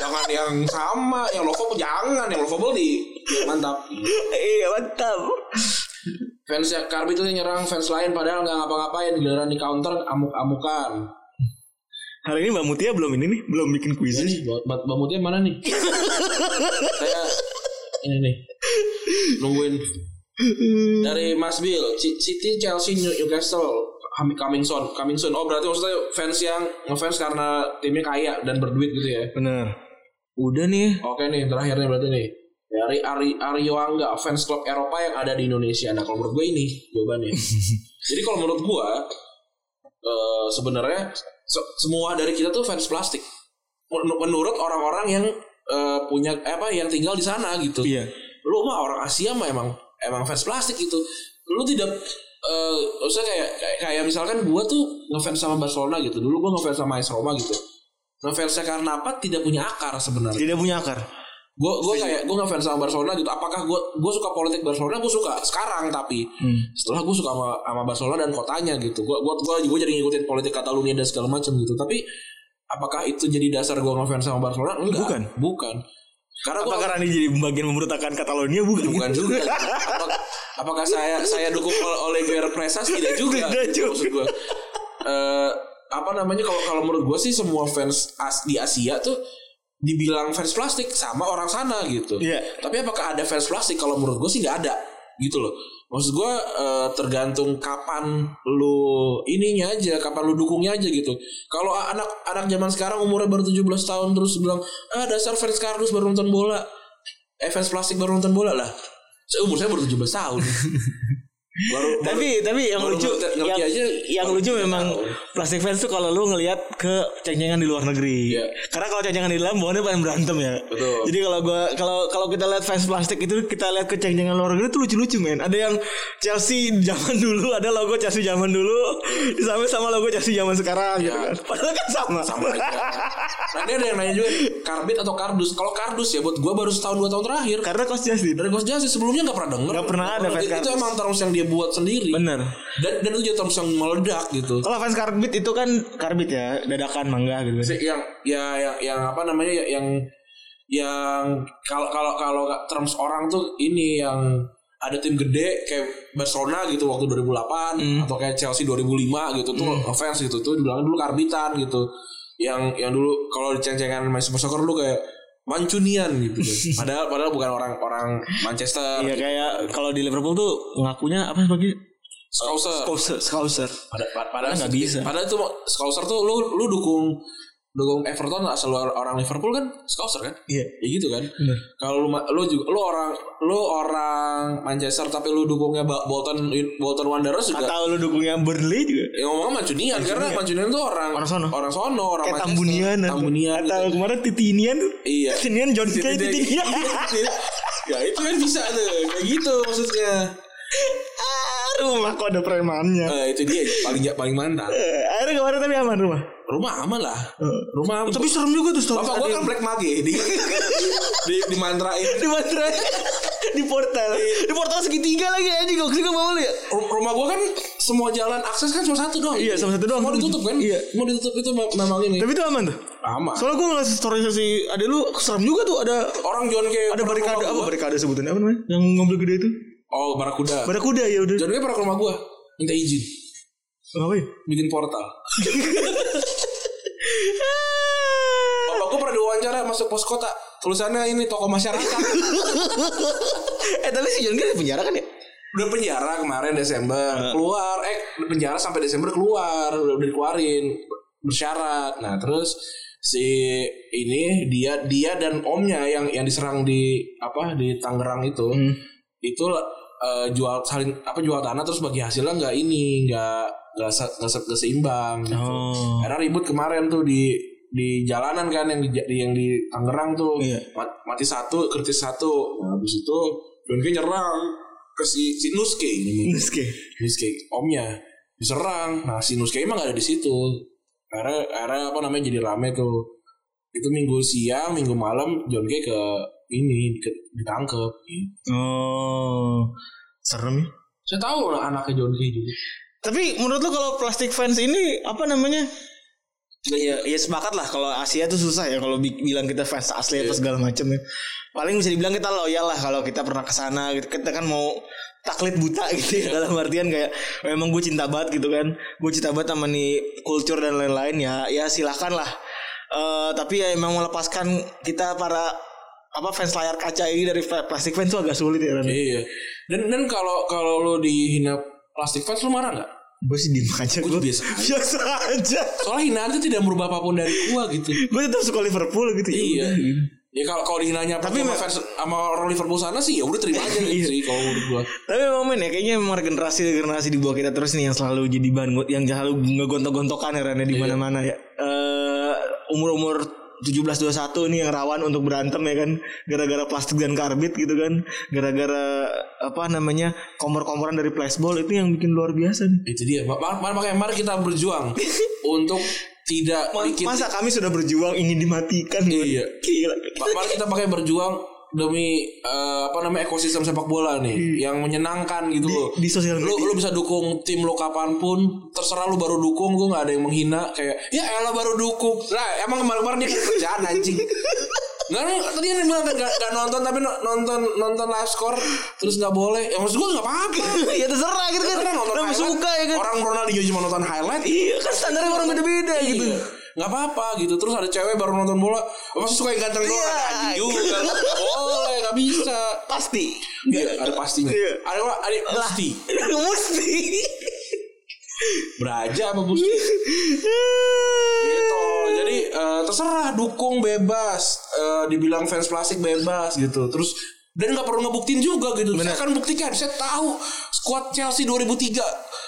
S3: Jangan yang sama Yang lovable jangan Yang lovable di Mantap
S2: Eh, mantap.
S3: Fans yang Karbi itu yang nyerang fans lain Padahal nggak ngapa-ngapain Giliran di counter Amuk-amukan
S2: Hari ini Mbak Mutia belum ini nih, belum bikin kuis.
S3: Ini Mbak Mbak Mutia mana *laughs* nih Saya Ini nih Nungguin Dari Mas Bill C- City, Chelsea, New- Newcastle Ham- Coming soon Coming soon Oh berarti maksudnya fans yang Ngefans karena timnya kaya Dan berduit gitu ya
S2: Benar. Udah nih.
S3: Oke nih terakhirnya berarti nih dari Ari Aryo Angga fans klub Eropa yang ada di Indonesia. Nah kalau menurut gue ini jawabannya. Jadi kalau menurut gue eh, sebenarnya se- semua dari kita tuh fans plastik. Men- Menurut orang-orang yang eh, punya apa yang tinggal di sana gitu.
S2: Iya.
S3: Lu mah orang Asia mah emang emang fans plastik gitu. Lu tidak eh maksudnya kayak, kayak kayak misalkan gue tuh ngefans sama Barcelona gitu. Dulu gue ngefans sama AS Roma gitu. Ngefansnya karena apa? Tidak punya akar sebenarnya
S2: Tidak punya akar.
S3: gue gue kayak gue ngefans sama Barcelona gitu apakah gue gue suka politik Barcelona gue suka sekarang tapi setelah gue suka sama, sama Barcelona dan kotanya gitu gue gue gue gue jadi ngikutin politik Catalunya dan segala macam gitu tapi apakah itu jadi dasar gue ngefans sama Barcelona enggak
S2: Bukan.
S3: bukan karena gue *laughs*
S2: Apakah ini jadi bagian memberontakan Catalonia bukan?
S3: bukan *laughs* juga Apa- apakah saya saya dukung oleh Olivier Presas tidak juga
S2: Tidak
S3: Gitu
S2: juga.
S3: maksud gue Eh, apa namanya kalau kalau menurut gue sih semua fans as- di Asia tuh dibilang fans plastik sama orang sana gitu
S2: Iya.
S3: tapi apakah ada fans plastik kalau menurut gue sih nggak ada gitu loh maksud gue eh, tergantung kapan lu ininya aja kapan lu dukungnya aja gitu kalau anak anak zaman sekarang umurnya baru 17 tahun terus bilang ah dasar fans kardus baru nonton bola eh fans plastik baru nonton bola lah saya umur saya baru 17
S2: *laughs*
S3: tahun baru
S2: Tapi tapi yang
S3: baru
S2: lucu
S3: ngerti- ngerti
S2: yang,
S3: aja,
S2: yang
S3: baru
S2: lucu
S3: tiga
S2: memang
S3: tahun.
S2: plastik fans tuh kalau lu ngelihat ke ceng-cengan di luar negeri.
S3: Iya.
S2: Karena kalau ceng-cengan di dalam bawahnya paling berantem ya.
S3: Betul.
S2: Jadi kalau gua kalau kalau kita lihat fans plastik itu kita lihat ke ceng-cengan luar negeri tuh lucu-lucu men. Ada yang Chelsea zaman *laughs* dulu, ada logo Chelsea zaman dulu, disamain sama logo Chelsea zaman sekarang gitu
S3: Iya.
S2: kan. Padahal kan sama.
S3: sama aja.
S2: *laughs*
S3: nah ini ada yang nanya juga karbit atau kardus kalau kardus ya buat gue baru setahun dua tahun terakhir
S2: Karena kos Chelsea.
S3: dari Ghost Justice sebelumnya nggak pernah denger Nah,
S2: Nggak pernah ada
S3: Itu-
S2: fans
S3: itu,
S2: Kardus.
S3: emang terms yang dia buat sendiri
S2: Bener.
S3: dan dan itu jadi terms yang meledak gitu
S2: Kalau fans karbit itu kan karbit ya, dadakan mangga gitu.
S3: Si- yang ya yang yang apa namanya ya- yang yang kalau kalau kalau nggak terms orang tuh ini yang ada tim gede kayak Barcelona gitu waktu 2008 atau kayak Chelsea 2005 gitu tuh fans gitu tuh dibilang dulu karbitan gitu yang yang dulu kalau diceng-cengan Manchester Soccer dulu kayak Mancunian gitu *laughs* padahal padahal bukan orang orang Manchester
S2: Iya kayak kalau di Liverpool tuh ngakunya apa sebagai
S3: Scouser.
S2: scouser, scouser.
S3: pada pada padahal
S2: nggak bisa.
S3: sedikit- padahal itu mau- Scouser tuh lu lu dukung dukung Everton lah selalu orang Liverpool kan Scouser kan
S2: Iya.
S3: ya gitu kan
S2: Bener.
S3: kalau lu ma- lu juga lu orang lu orang Manchester tapi lu dukungnya Ba- Bolton Bolton Wanderers juga ya
S2: Atau lu dukungnya Burnley juga.
S3: yang ngomongnya Mancunian karena Mancunian tuh orang
S2: Orang sono.
S3: orang sono orang
S2: Kayak
S3: Manchester.
S2: Tambunian. atau-
S3: Tambunian
S2: Atau gitu
S3: gitu.
S2: kemarin Titinian.
S3: Iya.
S2: Titinian John Kay
S3: Jadi- iya,
S2: Titinian.
S3: ya itu kan bisa tuh kayak gitu maksudnya
S2: Iya. Ah, rumah kok ada premannya.
S3: Eh, itu dia paling paling mantap
S2: Eh, Akhirnya kemarin tapi aman rumah.
S3: rumah aman lah
S2: Eh.
S3: rumah aman kan
S2: Tapi serem juga tuh story.
S3: *laughs* Bapak gue kan black mage di di, di mantrain.
S2: di Madras. di portal di portal segitiga lagi anjing gokil gue mau lu ya
S3: Ru- rumah gua kan semua jalan akses kan cuma satu doang.
S2: Iya, sama satu doang.
S3: Mau ditutup kan?
S2: Iya.
S3: Mau ditutup itu mem- memang ini.
S2: tapi itu aman tuh
S3: Lama.
S2: soalnya gue ngeliat story si ada lu serem juga tuh ada
S3: Orang John kayak
S2: ada barikade apa
S3: apa?
S2: barikade sebutannya apa namanya yang ngambil gede itu
S3: Oh, barakuda.
S2: barakuda ya udah ya?
S3: John kayak pernah ke rumah gua minta izin
S2: ngapain
S3: bikin portal. Bapak gua pernah diwawancara masuk pos kota. Tulisannya ini toko
S2: *laughs*
S3: masyarakat.
S2: eh tapi si John Gray di penjara kan ya
S3: udah penjara kemarin Desember keluar eh penjara sampai Desember keluar udah, udah dikeluarin bersyarat nah terus si ini dia dia dan omnya yang yang diserang di apa di Tangerang itu
S2: Hmm.
S3: itu eh, jual salin apa jual tanah terus bagi hasilnya nggak ini nggak nggak se- nggak se- nggak seimbang gitu.
S2: Oh.
S3: karena ribut kemarin tuh di di jalanan kan yang di yang di Tangerang tuh
S2: Iya.
S3: Mat- mati satu kertis satu nah, habis itu Donke nyerang ke si, si Nuske ini
S2: Nuske
S3: Nuske omnya diserang nah si Nuske emang gak ada di situ karena karena apa namanya jadi rame tuh itu minggu siang minggu malam Donke ke ini ke, ditangkep gitu.
S2: oh serem ya
S3: saya tahu lah anaknya Donke juga
S2: tapi menurut lu kalau plastic fans ini apa namanya Ya, ya sepakat lah kalau Asia tuh susah ya kalau bi- bilang kita fans asli atau segala macam ya. Paling bisa dibilang kita loyal lah kalau kita pernah ke sana gitu. Kita kan mau taklid buta *laughs* gitu ya dalam artian kayak "Oh, emang gue cinta banget gitu kan. Gue cinta banget sama nih culture dan lain-lain ya. Ya silakan lah. Eh, tapi ya emang melepaskan kita para apa fans layar kaca ini dari fa- plastik fans tuh agak sulit ya. Ran.
S3: iya dan dan kalau kalau lo dihina plastik fans lo marah nggak
S2: Gue sih diem aja
S3: Gua
S2: gue. *laughs*
S3: biasa aja.
S2: Biasa aja.
S3: soalnya hinaan itu tidak merubah apapun dari gua gitu
S2: gue tetap suka Liverpool gitu. Ya
S3: Iya.
S2: udah.
S3: Ya kalau kalau dihinanya
S2: Tapi
S3: tapi sama
S2: me-
S3: fans sama orang Liverpool sana sih ya udah terima aja gitu
S2: *laughs* Iya.
S3: sih kalau menurut gua.
S2: Tapi memang men ya kayaknya memang generasi generasi di bawah kita terus nih yang selalu jadi bahan go- yang selalu ngegontok-gontokan herannya di mana-mana ya. Eh umur-umur 17-21 nih yang rawan untuk berantem ya kan gara-gara plastik dan karbit gitu kan gara-gara apa namanya kompor-komporan dari flashball itu yang bikin luar biasa nih
S3: Itu dia. Ma- ma- ma- Makanya mari kita
S2: *laughs*
S3: berjuang untuk tidak bikin
S2: masa kami sudah berjuang ingin dimatikan
S3: Iya.
S2: gila
S3: Ma- mari kita pakai berjuang demi eh, apa namanya ekosistem sepak bola nih yang menyenangkan gitu loh.
S2: Hmm. di sosial
S3: Lu,
S2: media
S3: lu bisa dukung tim lo kapanpun terserah lu baru dukung gue nggak ada yang menghina kayak ya elah baru dukung lah emang kemarin kemarin dia kerjaan anjing nggak lu- tadi kan dia bilang nggak nggak nonton tapi no- nonton nonton live score terus nggak boleh ya maksud gue nggak apa-apa
S2: ya terserah gitu kan
S3: Orang nonton
S2: orang
S3: highlight,
S2: suka ya kan
S3: orang Ronaldinho cuma nonton highlight
S2: iya kan standarnya orang beda-beda gitu
S3: gitu nggak apa-apa gitu terus ada cewek baru nonton bola maksud suka yang ganteng doang
S2: Iya.
S3: ada anjing juga Nggak boleh nggak bisa
S2: pasti
S3: Iya, ada pastinya.
S2: Iya.
S3: Ada apa? Ada pasti.
S2: *laughs* mesti *laughs*
S3: Beraja apa Gusti?
S2: Iya.
S3: gitu jadi eh, terserah dukung bebas Eh, dibilang fans plastik bebas gitu terus dan nggak perlu ngebuktiin juga gitu saya akan buktikan saya tahu squad Chelsea 2003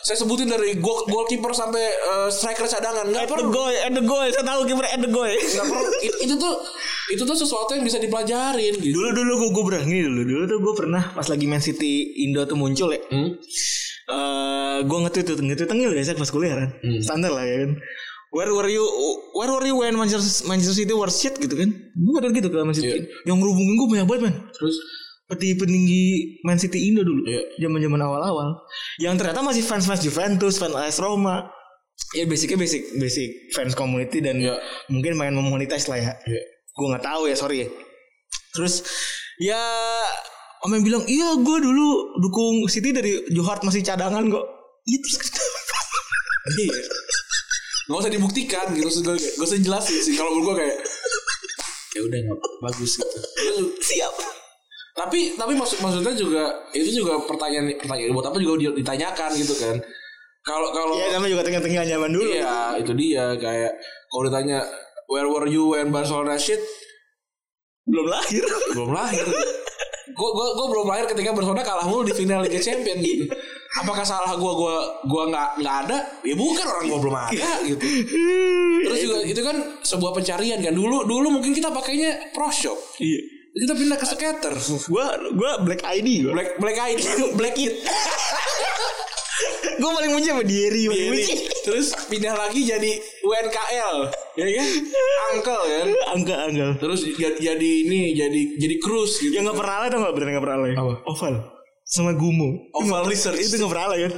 S3: saya sebutin dari gol goalkeeper sampai eh, striker cadangan nggak perlu
S2: goy, at the goy, saya tahu kiper at the goy.
S3: nggak
S2: *laughs*
S3: perlu It- itu tuh itu tuh sesuatu yang bisa dipelajarin gitu
S2: Dulu dulu gue gue berani dulu dulu tuh gue pernah pas lagi Man City Indo tuh muncul ya.
S3: Hmm?
S2: Eh gue nge-tweet tuh, nge-tweet tengil biasa pas kuliah kan.
S3: Hmm.
S2: Standar lah ya kan. Where were you where were you when Manchester, Manchester City were shit gitu kan. Gue ada gitu ke Man
S3: Iya.
S2: City. Yang ngerubungin gue banyak banget man.
S3: terus
S2: peti peninggi Man City Indo dulu
S3: Iya.
S2: zaman zaman awal awal yang ternyata masih fans fans Juventus fans AS Roma ya basicnya basic basic fans community dan
S3: Iya.
S2: mungkin main memonetize lah ya
S3: Iya.
S2: gue nggak tahu ya sorry ya terus ya Omen bilang iya gue dulu dukung City dari Johart masih cadangan kok Iya terus *laughs*
S3: nggak usah dibuktikan gitu Terus gua- gak usah jelasin sih kalau menurut gue kayak ya udah nggak bagus gitu
S2: *laughs*
S3: Terus
S2: siap
S3: tapi tapi maksud maksudnya juga itu juga pertanyaan pertanyaan buat apa juga dia ditanyakan gitu kan kalau kalau
S2: ya namanya juga tengah tengah zaman dulu
S3: iya itu dia kayak kalau ditanya where were you when Barcelona shit
S2: belum *laughs* lahir
S3: belum lahir gua gua gua belum lahir ketika Barcelona kalah mulu di final Liga Champions gitu apakah salah gua gua gua nggak nggak ada ya bukan orang gua belum ada gitu terus juga itu kan sebuah pencarian kan dulu dulu mungkin kita pakainya pro shop
S2: iya
S3: kita pindah ke skater
S2: gue gue Black ID gue
S3: black black ID *laughs* black it
S2: gue paling benci *laughs* sama Dieri paling
S3: Ini,
S2: benci
S3: terus pindah lagi jadi UNKL
S2: ya kan
S3: Angkel kan.
S2: angka angka
S3: Terus j- jadi ini jadi jadi cruise gitu.
S2: yang Ya, nggak pernah lah tau nggak bener nggak pernah lah ya?
S3: Apa?
S2: oval sama gumo
S3: Oval research.
S2: itu nggak pernah lah kan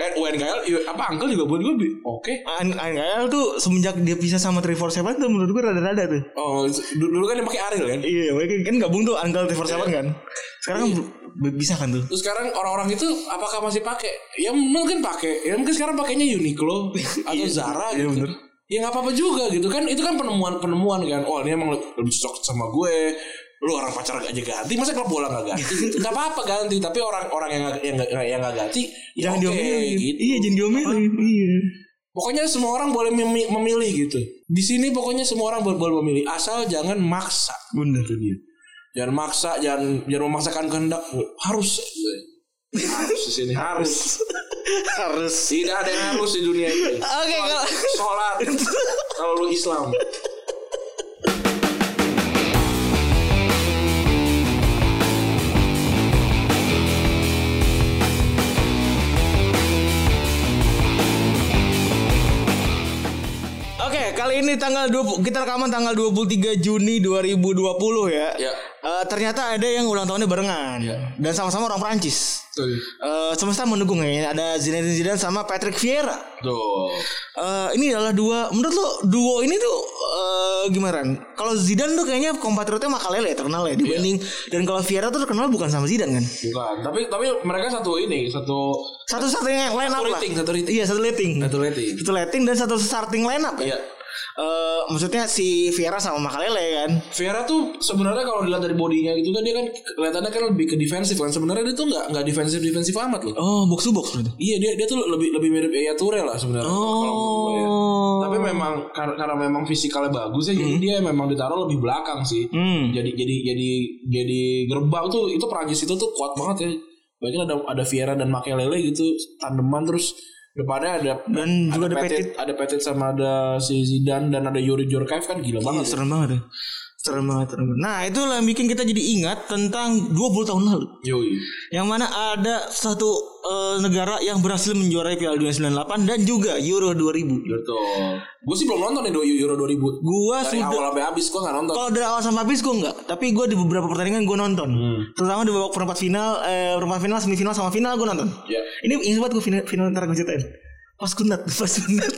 S3: Eh UNKL i- apa angkel juga buat gue bi- oke.
S2: An- Angel tuh semenjak dia pisah sama Trevor Seven tuh menurut gue rada-rada tuh
S3: Oh du- dulu kan yang pakai Ariel kan.
S2: Iya, mereka kan gabung tuh Angel Trevor Seven
S3: Iya.
S2: kan. Sekarang kan b- bisa kan tuh.
S3: Terus sekarang orang-orang itu apakah masih pakai? Ya mungkin pakai. Ya mungkin sekarang pakainya Uniqlo atau Zara
S2: iya
S3: gitu.
S2: bener.
S3: Ya nggak apa-apa juga gitu kan. Itu kan penemuan-penemuan kan. Oh ini emang lebih cocok sama gue. Lu orang pacar aja ganti, masa klub bola gak ganti? Gitu. Gak apa-apa ganti, tapi orang-orang yang gak, yang, nggak- yang gak ganti ya
S2: Iya, Jangan
S3: oke,
S2: diomelin.
S3: gitu.
S2: Iya, jangan diomelin. Iya.
S3: Pokoknya semua orang boleh memi- memilih gitu. Di sini pokoknya semua orang boleh, boleh memilih, asal jangan maksa.
S2: Bener tuh dia.
S3: Jangan maksa, jangan jangan memaksakan kehendak. Harus harus di sini harus.
S2: Harus.
S3: Tidak ada yang harus di dunia ini.
S2: Oke, kalau
S3: Sholat kalau lu Islam.
S2: Oke, kali ini tanggal 20 kita rekaman tanggal 23 Juni 2020 ya.
S3: Ya.
S2: Eh, ternyata ada yang ulang tahunnya barengan
S3: Ya.
S2: dan sama-sama orang Prancis.
S3: Tuh.
S2: Eh, semesta mendukung ya. Ada Zinedine Zidane sama Patrick Vieira.
S3: Tuh.
S2: Eh, ini adalah dua menurut lo duo ini tuh eh, gimana? Ran? Kalau Zidane tuh kayaknya kompatriotnya Makalele terkenal ya dibanding
S3: Iya.
S2: dan kalau Vieira tuh terkenal bukan sama Zidane kan.
S3: Bukan. Tapi tapi mereka satu ini, satu
S2: Satu-satunya yang line up
S3: satu
S2: lah.
S3: rating, satu rating.
S2: Iya, satu rating.
S3: Satu rating.
S2: Satu rating dan satu starting line up ya.
S3: Iya.
S2: Eh, maksudnya si Vieira sama Makalele kan.
S3: Vera tuh sebenarnya kalau dilihat dari bodinya gitu kan dia kan kelihatannya kan lebih ke defensif kan sebenarnya dia tuh nggak nggak defensif defensif amat loh.
S2: Oh, box to box berarti.
S3: Iya dia dia tuh lebih lebih mirip Yaya Toure lah sebenarnya. kalau menurut gue ya.
S2: Oh.
S3: Tapi memang karena, karena memang fisikalnya bagus ya jadi dia memang ditaruh lebih belakang sih.
S2: Hmm.
S3: Jadi jadi jadi jadi gerbang tuh itu Prancis itu tuh kuat banget ya. Bahkan ada ada Vieira dan Makelele gitu tandeman terus depannya ada
S2: Dan juga ada Petit.
S3: ada Petit sama ada si Zidane dan ada Yuri Jorkaev kan
S2: Iya,
S3: gila banget. ya.
S2: serem banget ya. Serem banget, serem banget. Nah, itulah yang bikin kita jadi ingat tentang 20 tahun lalu.
S3: Yoi.
S2: Yang mana ada satu eh, negara yang berhasil menjuarai Piala Dunia 98 dan juga Euro 2000.
S3: Betul. Gue gitu. sih belum nonton nih Euro 2000.
S2: Gua
S3: Dari
S2: sudah
S3: awal sampai habis gue gak nonton.
S2: kalau dari awal sampai habis gue enggak, tapi gue di beberapa pertandingan gue nonton.
S3: Hmm.
S2: Terutama di babak perempat final, eh, perempat final, semifinal sama final gue nonton.
S3: Ya.
S2: Ini ingat banget gue final, final ntar gue ceritain. Pas kunat, *laughs* pas
S3: *laughs*
S2: kunat.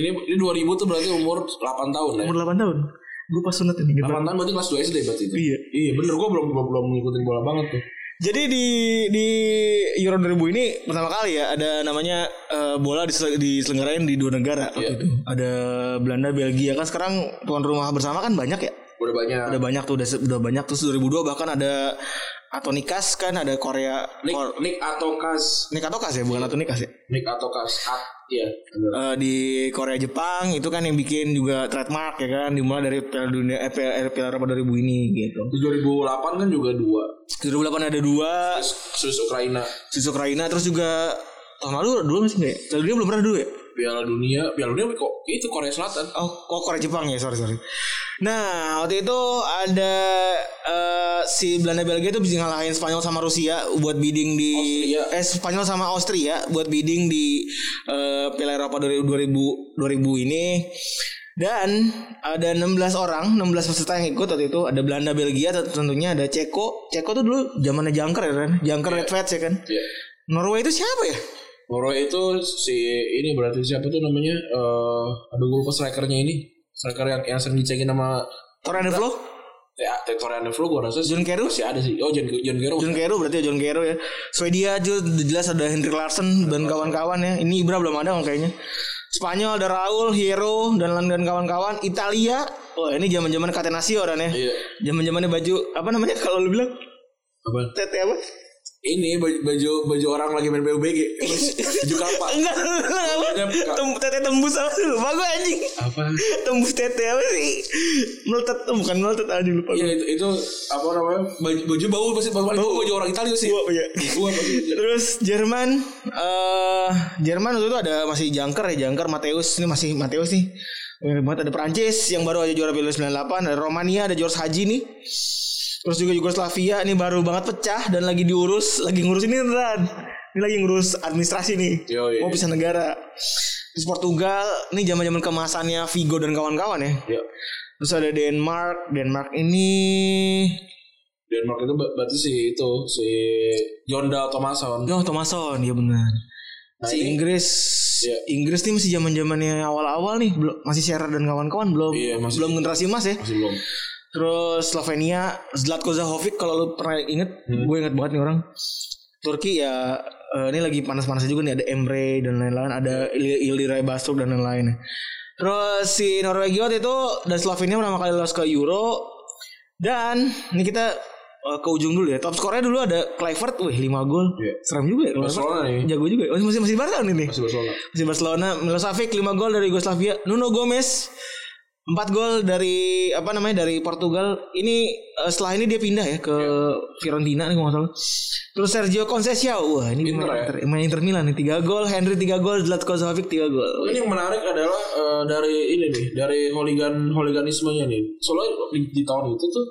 S3: Ini ini 2000 tuh berarti umur 8 tahun ya.
S2: Umur 8 tahun. Gue pas kunat ini.
S3: 8 tahun berarti kelas 2 SD berarti itu.
S2: Iya.
S3: Iya bener gue belum belum, belum ngikutin bola banget tuh.
S2: Jadi di di Euro 2000 ini pertama kali ya ada namanya eh, bola disel- diselenggarain di dua negara waktu
S3: Iya.
S2: itu. Ada Belanda, Belgia kan sekarang tuan rumah bersama kan banyak ya.
S3: Udah banyak.
S2: Ada banyak tuh udah, se- udah banyak terus 2002 bahkan ada Atonikas kan ada Korea
S3: Nick,
S2: Kor-
S3: Nick Atokas.
S2: Nikatokas ya bukan Atonikas ya.
S3: Nick Atokas. At, iya. bener.
S2: Eh, di Korea Jepang itu kan yang bikin juga trademark ya kan dimulai dari Piala Dunia eh, Piala, Piala Eropa 2000 ini gitu.
S3: Di 2008 kan juga dua.
S2: 2008 ada dua
S3: Swiss Ukraina.
S2: Swiss Ukraina terus juga tahun lalu dulu masih enggak ya? Tahun lalu belum pernah dulu ya?
S3: Piala Dunia. Piala Dunia kok itu Korea Selatan.
S2: Oh, kok Korea Jepang ya, sorry sorry. Nah, waktu itu ada eh, si Belanda Belgia itu bisa ngalahin Spanyol sama Rusia buat bidding di
S3: Austria.
S2: eh Spanyol sama Austria buat bidding di eh, Piala Eropa 2000 2000 ini. Dan ada 16 orang, 16 peserta yang ikut waktu itu ada Belanda, Belgia, tentunya ada Ceko. Ceko tuh dulu zamannya Jangker ya kan? Jangker Red Vets ya kan?
S3: Iya.
S2: Norway itu siapa ya?
S3: Norway itu si ini berarti siapa tuh namanya? Eh, aduh gue lupa strikernya ini. Striker yang yang sering dicengin sama
S2: Torre de Flo?
S3: Ya, Torian Devlo gue rasa sih
S2: John Carew?
S3: masih ada sih. Oh, John, John Gero.
S2: John Carew berarti ya John Carew ya. Swedia juga jelas ada Henrik Larsson dan kawan-kawan ya. Ini Ibra belum ada kok kayaknya. Spanyol ada Raul, Hierro dan dan kawan-kawan. Italia, wah ini zaman-zaman Catenaccio dan ya.
S3: Iya.
S2: Zaman-zamannya baju apa namanya kalau lu bilang
S3: Apa?
S2: tete apa?
S3: Ini baju baju, baju orang lagi main PUBG. Terus baju kalpa.
S2: Enggak,
S3: Enggak, enggak.
S2: apa? Tem, tete tembus apa sih? Lupa gue anjing.
S3: Apa?
S2: Tembus tete apa sih? Meletet, oh, bukan meletet anjing lupa gue.
S3: Iya itu, itu apa namanya? Baju, baju bau pasti bau. Itu baju orang Italia sih.
S2: Gua, iya.
S3: Gua pasti.
S2: Terus Jerman eh Jerman waktu itu ada masih Jangker ya Jangker Mateus ini masih Mateus nih. Banyak banget ada Perancis yang baru aja juara Piala 98, ada Romania, ada George Haji nih. Terus juga Yugoslavia ini baru banget pecah dan lagi diurus, lagi ngurus ini Ran. Ini lagi ngurus administrasi nih.
S3: Yoi.
S2: Mau pisah negara. Terus Portugal ini zaman-zaman kemasannya Vigo dan kawan-kawan ya.
S3: Ya.
S2: Terus ada Denmark, Denmark ini
S3: Denmark itu ber- berarti si itu si Jonda Thomason.
S2: Oh Thomason ya benar.
S3: Nah,
S2: Si
S3: ini-
S2: Inggris
S3: Iya.
S2: Inggris nih masih zaman zamannya awal-awal nih belum masih Shearer dan kawan-kawan belum
S3: Iya, masih-
S2: belum generasi emas ya.
S3: Masih belum.
S2: Terus Slovenia Zlatko Zahovic kalau lu pernah inget
S3: Hmm.
S2: gue inget banget nih orang Turki ya eh, ini lagi panas-panasnya juga nih ada Emre dan lain-lain ada Il- Ildiray Bastog dan lain-lain terus si Norwegia waktu itu dan Slovenia pertama kali lolos ke Euro dan ini kita eh, ke ujung dulu ya top skornya dulu ada Kluivert wih 5 gol
S3: Iya.
S2: serem juga ya Kluivert.
S3: Barcelona nih.
S2: jago juga ya. Oh, masih masih di Barca nih
S3: Masih Barcelona.
S2: si Barcelona Milosevic 5 gol dari Yugoslavia Nuno Gomez 4 gol dari apa namanya dari Portugal ini eh, setelah ini dia pindah ya ke
S3: Iya.
S2: Fiorentina nih kalau nggak salah terus Sergio Conceição wah ini
S3: Inter
S2: main,
S3: ya?
S2: Inter, main Inter Milan nih 3 gol Henry 3 gol Zlatko Zahovic 3 gol
S3: Ini yang menarik adalah eh, dari ini nih, dari holigan holiganismenya nih. Soalnya di, di tahun itu tuh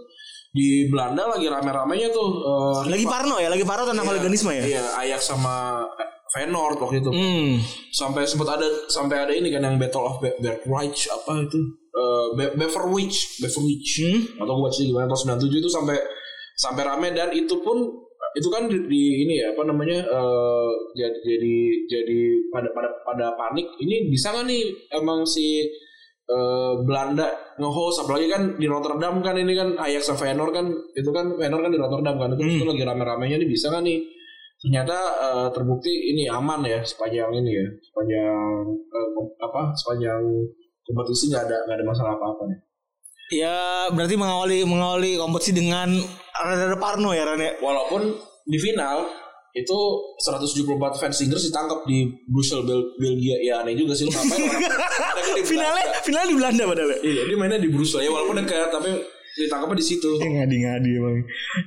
S3: di Belanda lagi rame-ramenya tuh eh,
S2: lagi parno ya lagi parno tentang holiganisme ya
S3: Iya, Ajax sama eh, Feyenoord waktu itu.
S2: hmm
S3: Sampai sempat ada sampai ada ini kan yang Battle of Be- Berkreich apa itu? Eh, Be- Beverwijk, Beverwijk.
S2: Hmm.
S3: Atau gue baca gimana tahun 97 itu sampai sampai rame dan itu pun itu kan di, di ini ya apa namanya eh, jadi jadi jadi pada pada pada panik ini bisa nggak nih emang si eh, Belanda nge-host apalagi kan di Rotterdam kan ini kan Ajax sama Feyenoord kan itu kan Feyenoord kan di Rotterdam kan itu, itu lagi rame-ramenya ini bisa nggak nih ternyata eh, terbukti ini aman ya sepanjang ini ya sepanjang eh, apa sepanjang kompetisi nggak ada nggak ada masalah apa-apa nih
S2: ya berarti mengawali mengawali kompetisi dengan rada-rada parno ya Ran ya
S3: walaupun di final itu 174 fans Inggris ditangkap di Brussels Bel- Belgia ya aneh juga sih lu ngapain orang mereka di
S2: *laughs* finalnya
S3: Belanda.
S2: finalnya di Belanda padahal ya
S3: iya dia mainnya di Brussels ya walaupun dekat tapi ditangkapnya di situ
S2: Iya, ngadi-ngadi emang.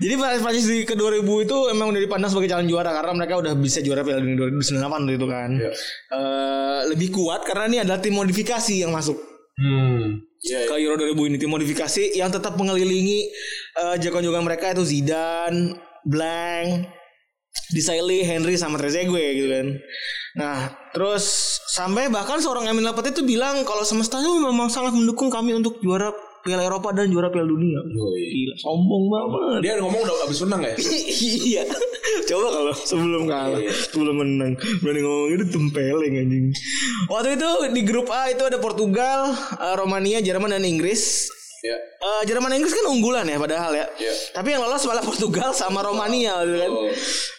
S2: Jadi Prancis Prancis di ke 2000 itu emang udah dipandang sebagai calon juara karena mereka udah bisa juara Piala Dunia 2008 waktu itu kan.
S3: Iya.
S2: Eh, lebih kuat karena ini adalah tim modifikasi yang masuk
S3: hmm iya
S2: ke
S3: iya.
S2: Euro 2000 ini tim modifikasi yang tetap mengelilingi eh, jagoan-jagoan mereka itu Zidane, Blank, Desailly, Henry sama Trezeguet gitu kan. Nah, terus sampai bahkan seorang Emil Laporte itu bilang kalau semesta itu memang sangat mendukung kami untuk juara Piala Eropa dan juara Piala Dunia.
S3: Yoi.
S2: Gila, sombong banget
S3: dia ngomong udah abis menang ya
S2: iya coba kalau Iya. sebelum kalah sebelum menang berani ngomong itu tempeleng anjing waktu itu di grup A itu ada Portugal eh, Romania Jerman dan Inggris
S3: ya
S2: Eh, Jerman dan Inggris kan unggulan ya padahal ya
S3: Iya.
S2: tapi yang lolos malah Portugal sama Romania gitu kan
S3: Oh.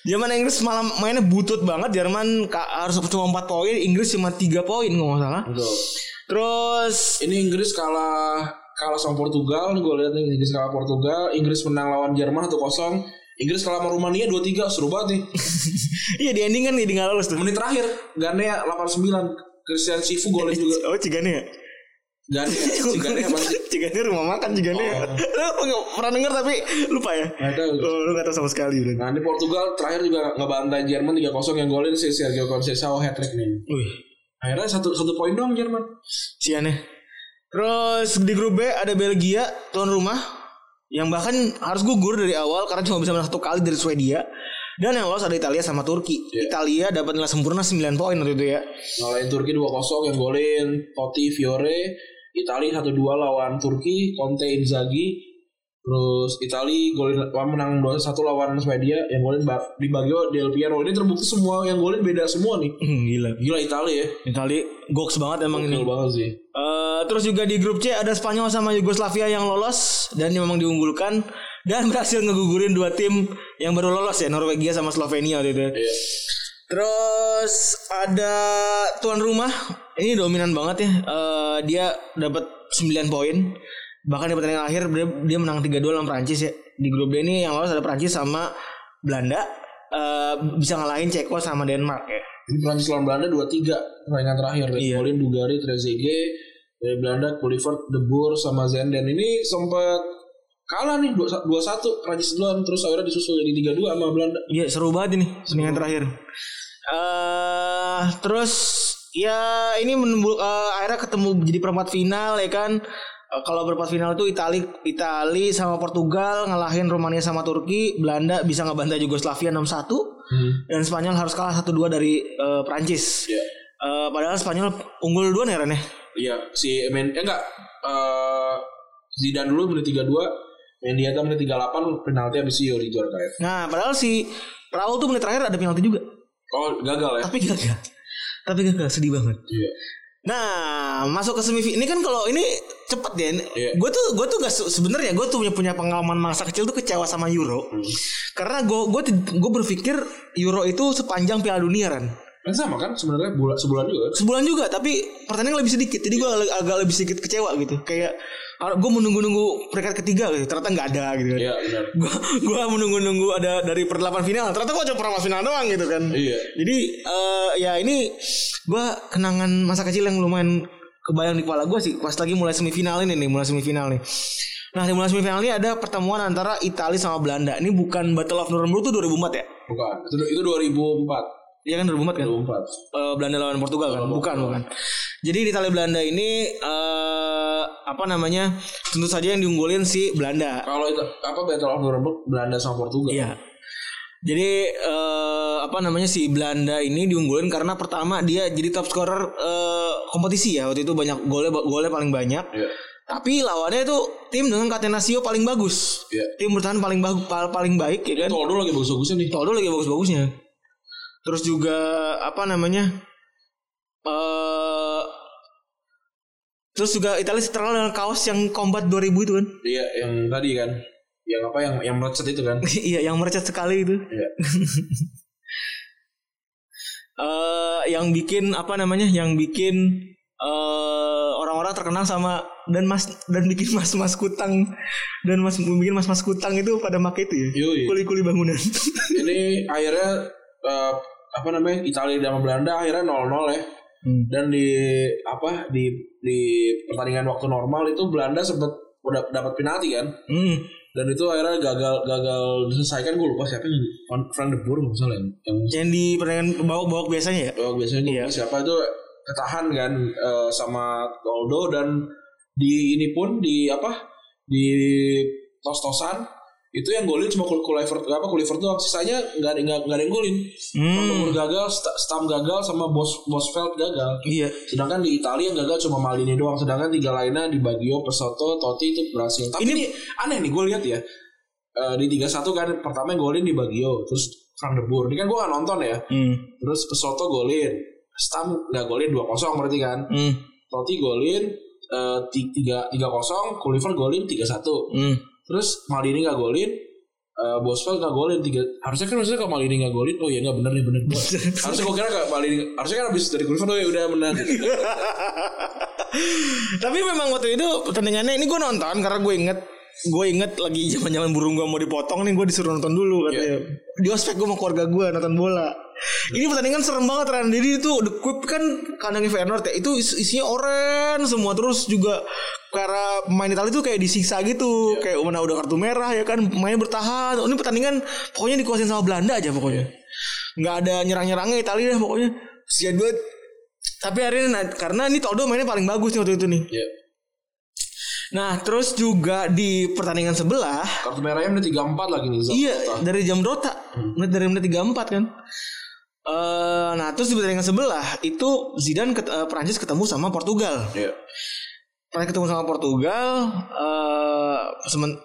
S2: Jerman dan Inggris malah mainnya butut banget Jerman ka- harus cuma 4 poin Inggris cuma 3 poin kalau nggak salah
S3: betul
S2: terus
S3: ini Inggris kalah kalah sama Portugal gue lihat nih Inggris kalah Portugal Inggris menang lawan Jerman 1-0 Inggris kalah sama Rumania 2-3 seru banget nih
S2: iya di ending kan jadi nggak lolos tuh
S3: menit terakhir Ganea 89 Christian Sifu golin juga
S2: oh cigane ya
S3: Ganea Ganea masih
S2: *laughs* Cigane rumah makan Cigane. Lu nggak pernah denger tapi Oh. lupa ya.
S3: Nggak tahu.
S2: Oh, lu nggak tahu sama sekali udah.
S3: Nah di Portugal terakhir juga ngebantai Jerman 3-0 yang golin si Sergio Conceição hat trick nih.
S2: Wih,
S3: Akhirnya satu satu poin doang Jerman.
S2: siannya. ya. Terus di grup B ada Belgia tuan rumah yang bahkan harus gugur dari awal karena cuma bisa menang satu kali dari Swedia. Dan yang lolos ada Italia sama Turki. Italia dapat nilai sempurna 9 poin waktu itu ya.
S3: Ngalahin Turki 2-0 yang golin Totti Fiore. Itali 1-2 lawan Turki Conte Inzaghi. Terus Itali golin menang 2-1 lawan Swedia yang golin Bar- di Baggio Del Piero. Ini terbukti semua yang golin beda semua nih.
S2: Hmm, gila.
S3: Gila Itali ya.
S2: Italia goks banget emang ini.
S3: Gokil banget sih.
S2: Eh, terus juga di grup C ada Spanyol sama Yugoslavia yang lolos dan memang diunggulkan dan *laughs* berhasil ngegugurin dua tim yang baru lolos ya Norwegia sama Slovenia waktu itu.
S3: Iya.
S2: Terus ada tuan rumah ini dominan banget ya. Eh, dia dapat 9 poin. Bahkan di pertandingan akhir dia, dia menang 3-2 lawan Prancis ya. Di grup D ini yang lolos ada Prancis sama Belanda Eh, bisa ngalahin Ceko sama Denmark ya.
S3: Ini Prancis lawan Belanda 2-3 pertandingan terakhir.
S2: Iya.
S3: Iya. Golin Dugari, Trezeguet dari Belanda, Kulivert, De Boer sama Zenden ini sempat kalah nih 2-1 Prancis duluan terus akhirnya disusul jadi 3-2 sama Belanda.
S2: Iya seru banget ini pertandingan terakhir. Eh terus ya ini menimbul eh, akhirnya ketemu jadi perempat final ya kan. Eh, kalau perempat final itu Itali Itali sama Portugal ngalahin Rumania sama Turki, Belanda bisa Hmm. ngebantai Yugoslavia 6-1 dan Spanyol harus kalah 1-2 dari eh, Prancis.
S3: Iya.
S2: Eh, padahal Spanyol unggul dua nih Ren ya.
S3: Iya, si Men eh enggak eh Zidane dulu menit 32, Mendieta menit 38 penalti habis itu di juara kayak.
S2: Nah, padahal si Raul tuh menit terakhir ada penalti juga.
S3: Oh, gagal ya.
S2: Tapi gagal. Tapi gagal sedih banget.
S3: Iya.
S2: Nah, masuk ke semifinal ini kan kalau ini cepet ya.
S3: Iya.
S2: Gue tuh gue tuh gak se- sebenarnya gue tuh punya punya pengalaman masa kecil tuh kecewa sama Euro. Karena gue gue gue berpikir Euro itu sepanjang Piala Dunia kan.
S3: Kan sama kan sebenarnya bulan sebulan juga. kan?
S2: Sebulan juga tapi pertandingan lebih sedikit. Jadi gue agak lebih sedikit kecewa gitu. Kayak gue menunggu-nunggu peringkat ketiga gitu. Ternyata nggak ada gitu kan.
S3: Iya, benar.
S2: Gua gue menunggu-nunggu ada dari perdelapan final. Ternyata gue cuma perempat final doang gitu kan.
S3: Iya.
S2: Jadi eh, ya ini gua kenangan masa kecil yang lumayan kebayang di kepala gua sih pas lagi mulai semifinal ini nih, mulai semifinal nih. Nah, di mulai semifinal ini ada pertemuan antara Italia sama Belanda. Ini bukan Battle of Nuremberg tuh 2004 ya?
S3: Bukan. Itu, itu 2004.
S2: Iya kan 2004 kan?
S3: 2004.
S2: Eh, Belanda lawan Portugal kan? Bukan, bukan. Jadi di Italia Belanda ini eh apa namanya? Tentu saja yang diunggulin si Belanda.
S3: Kalau itu apa Battle of Nuremberg Belanda sama Portugal.
S2: Iya. Jadi eh, apa namanya si Belanda ini diunggulin karena pertama dia jadi top scorer eh, kompetisi ya waktu itu banyak golnya golnya paling banyak.
S3: Iya.
S2: Tapi lawannya itu tim dengan Catenaccio paling bagus.
S3: Iya.
S2: Tim bertahan paling bagus paling baik ya kan.
S3: Toldo lagi bagus-bagusnya nih.
S2: Toldo lagi bagus-bagusnya. Terus juga apa namanya? eh terus juga Italia terkenal dengan kaos yang Combat 2000 itu kan. *laughs*
S3: Iya, yang tadi kan. Yang apa yang yang melecet itu kan.
S2: Iya, yang merecet sekali itu.
S3: Iya.
S2: eh yang bikin apa namanya yang bikin eh orang-orang terkenal sama dan mas dan bikin *laughs* mas-mas kutang dan mas bikin mas-mas kutang itu pada make itu ya
S3: Yoi.
S2: kuli-kuli bangunan *laughs*
S3: Ini akhirnya eh, apa namanya Italia dan Belanda akhirnya 0-0 ya. Dan di apa di di pertandingan waktu normal itu Belanda sempat udah dapat penalti kan.
S2: Mm.
S3: Dan itu akhirnya gagal gagal diselesaikan gue lupa siapa yang Van Van de Boer kalau nggak salah yang, yang
S2: yang di pertandingan bawah-bawah biasanya ya
S3: oh, biasanya gue
S2: Iya.
S3: lupa siapa itu ketahan kan eh, sama Toldo dan di ini pun di apa di tos-tosan itu yang golin cuma kul kulivert apa kulivert doang sisanya nggak ada nggak nggak ada yang golin
S2: Hmm.
S3: Toldo gagal Sta- Stam gagal sama Bos Bosfeld gagal
S2: iya
S3: Sedangkan di Italia yang gagal cuma Malini doang. Sedangkan tiga lainnya di Baggio, Pesoto, Totti itu berhasil. Tapi ini, aneh nih gue lihat ya. Eh, di 3-1 kan pertama yang golin di Baggio. Terus Frank de Boer. Ini kan gue gak nonton ya.
S2: Hmm.
S3: Terus Pesoto golin. Stam gak golin 2-0 berarti kan.
S2: Hmm.
S3: Totti golin eh, ti- tiga 3-0. Kuliver golin 3-1.
S2: Hmm. *laughs*
S3: Terus Malini gak golin. Eh, Boswell gak golin tiga harusnya kan harusnya kalau Malini gak golin oh iya gak bener nih bener harusnya gue kira gak Malini harusnya kan abis dari Kuliver oh ya udah bener
S2: tapi memang waktu itu pertandingannya ini gue nonton karena gue inget gue inget lagi zaman zaman burung gue mau dipotong nih gue disuruh nonton dulu katanya di ospek gue sama keluarga gue nonton bola ini pertandingan serem banget Ran jadi itu the Quip kan kandangnya Feyenoord ya itu is- isinya oranye semua terus juga karena pemain Italia itu kayak disiksa gitu kayak mana udah kartu merah ya kan pemainnya bertahan ini pertandingan pokoknya dikuasain sama Belanda aja pokoknya nggak ada nyerang-nyerangnya Italia dah pokoknya Kesian banget tapi akhirnya na- karena ini Toldo mainnya paling bagus nih waktu itu nih
S3: Iya.
S2: Nah terus juga di pertandingan sebelah
S3: Kartu merahnya menit 34 lagi nih Zak.
S2: Iya dari jam Dota
S3: Hmm.
S2: menit Dari menit 34 kan Eh, Nah terus di pertandingan sebelah Itu Zidane ket- eh, Prancis ketemu sama Portugal
S3: Iya.
S2: Prancis ketemu sama Portugal eh semen-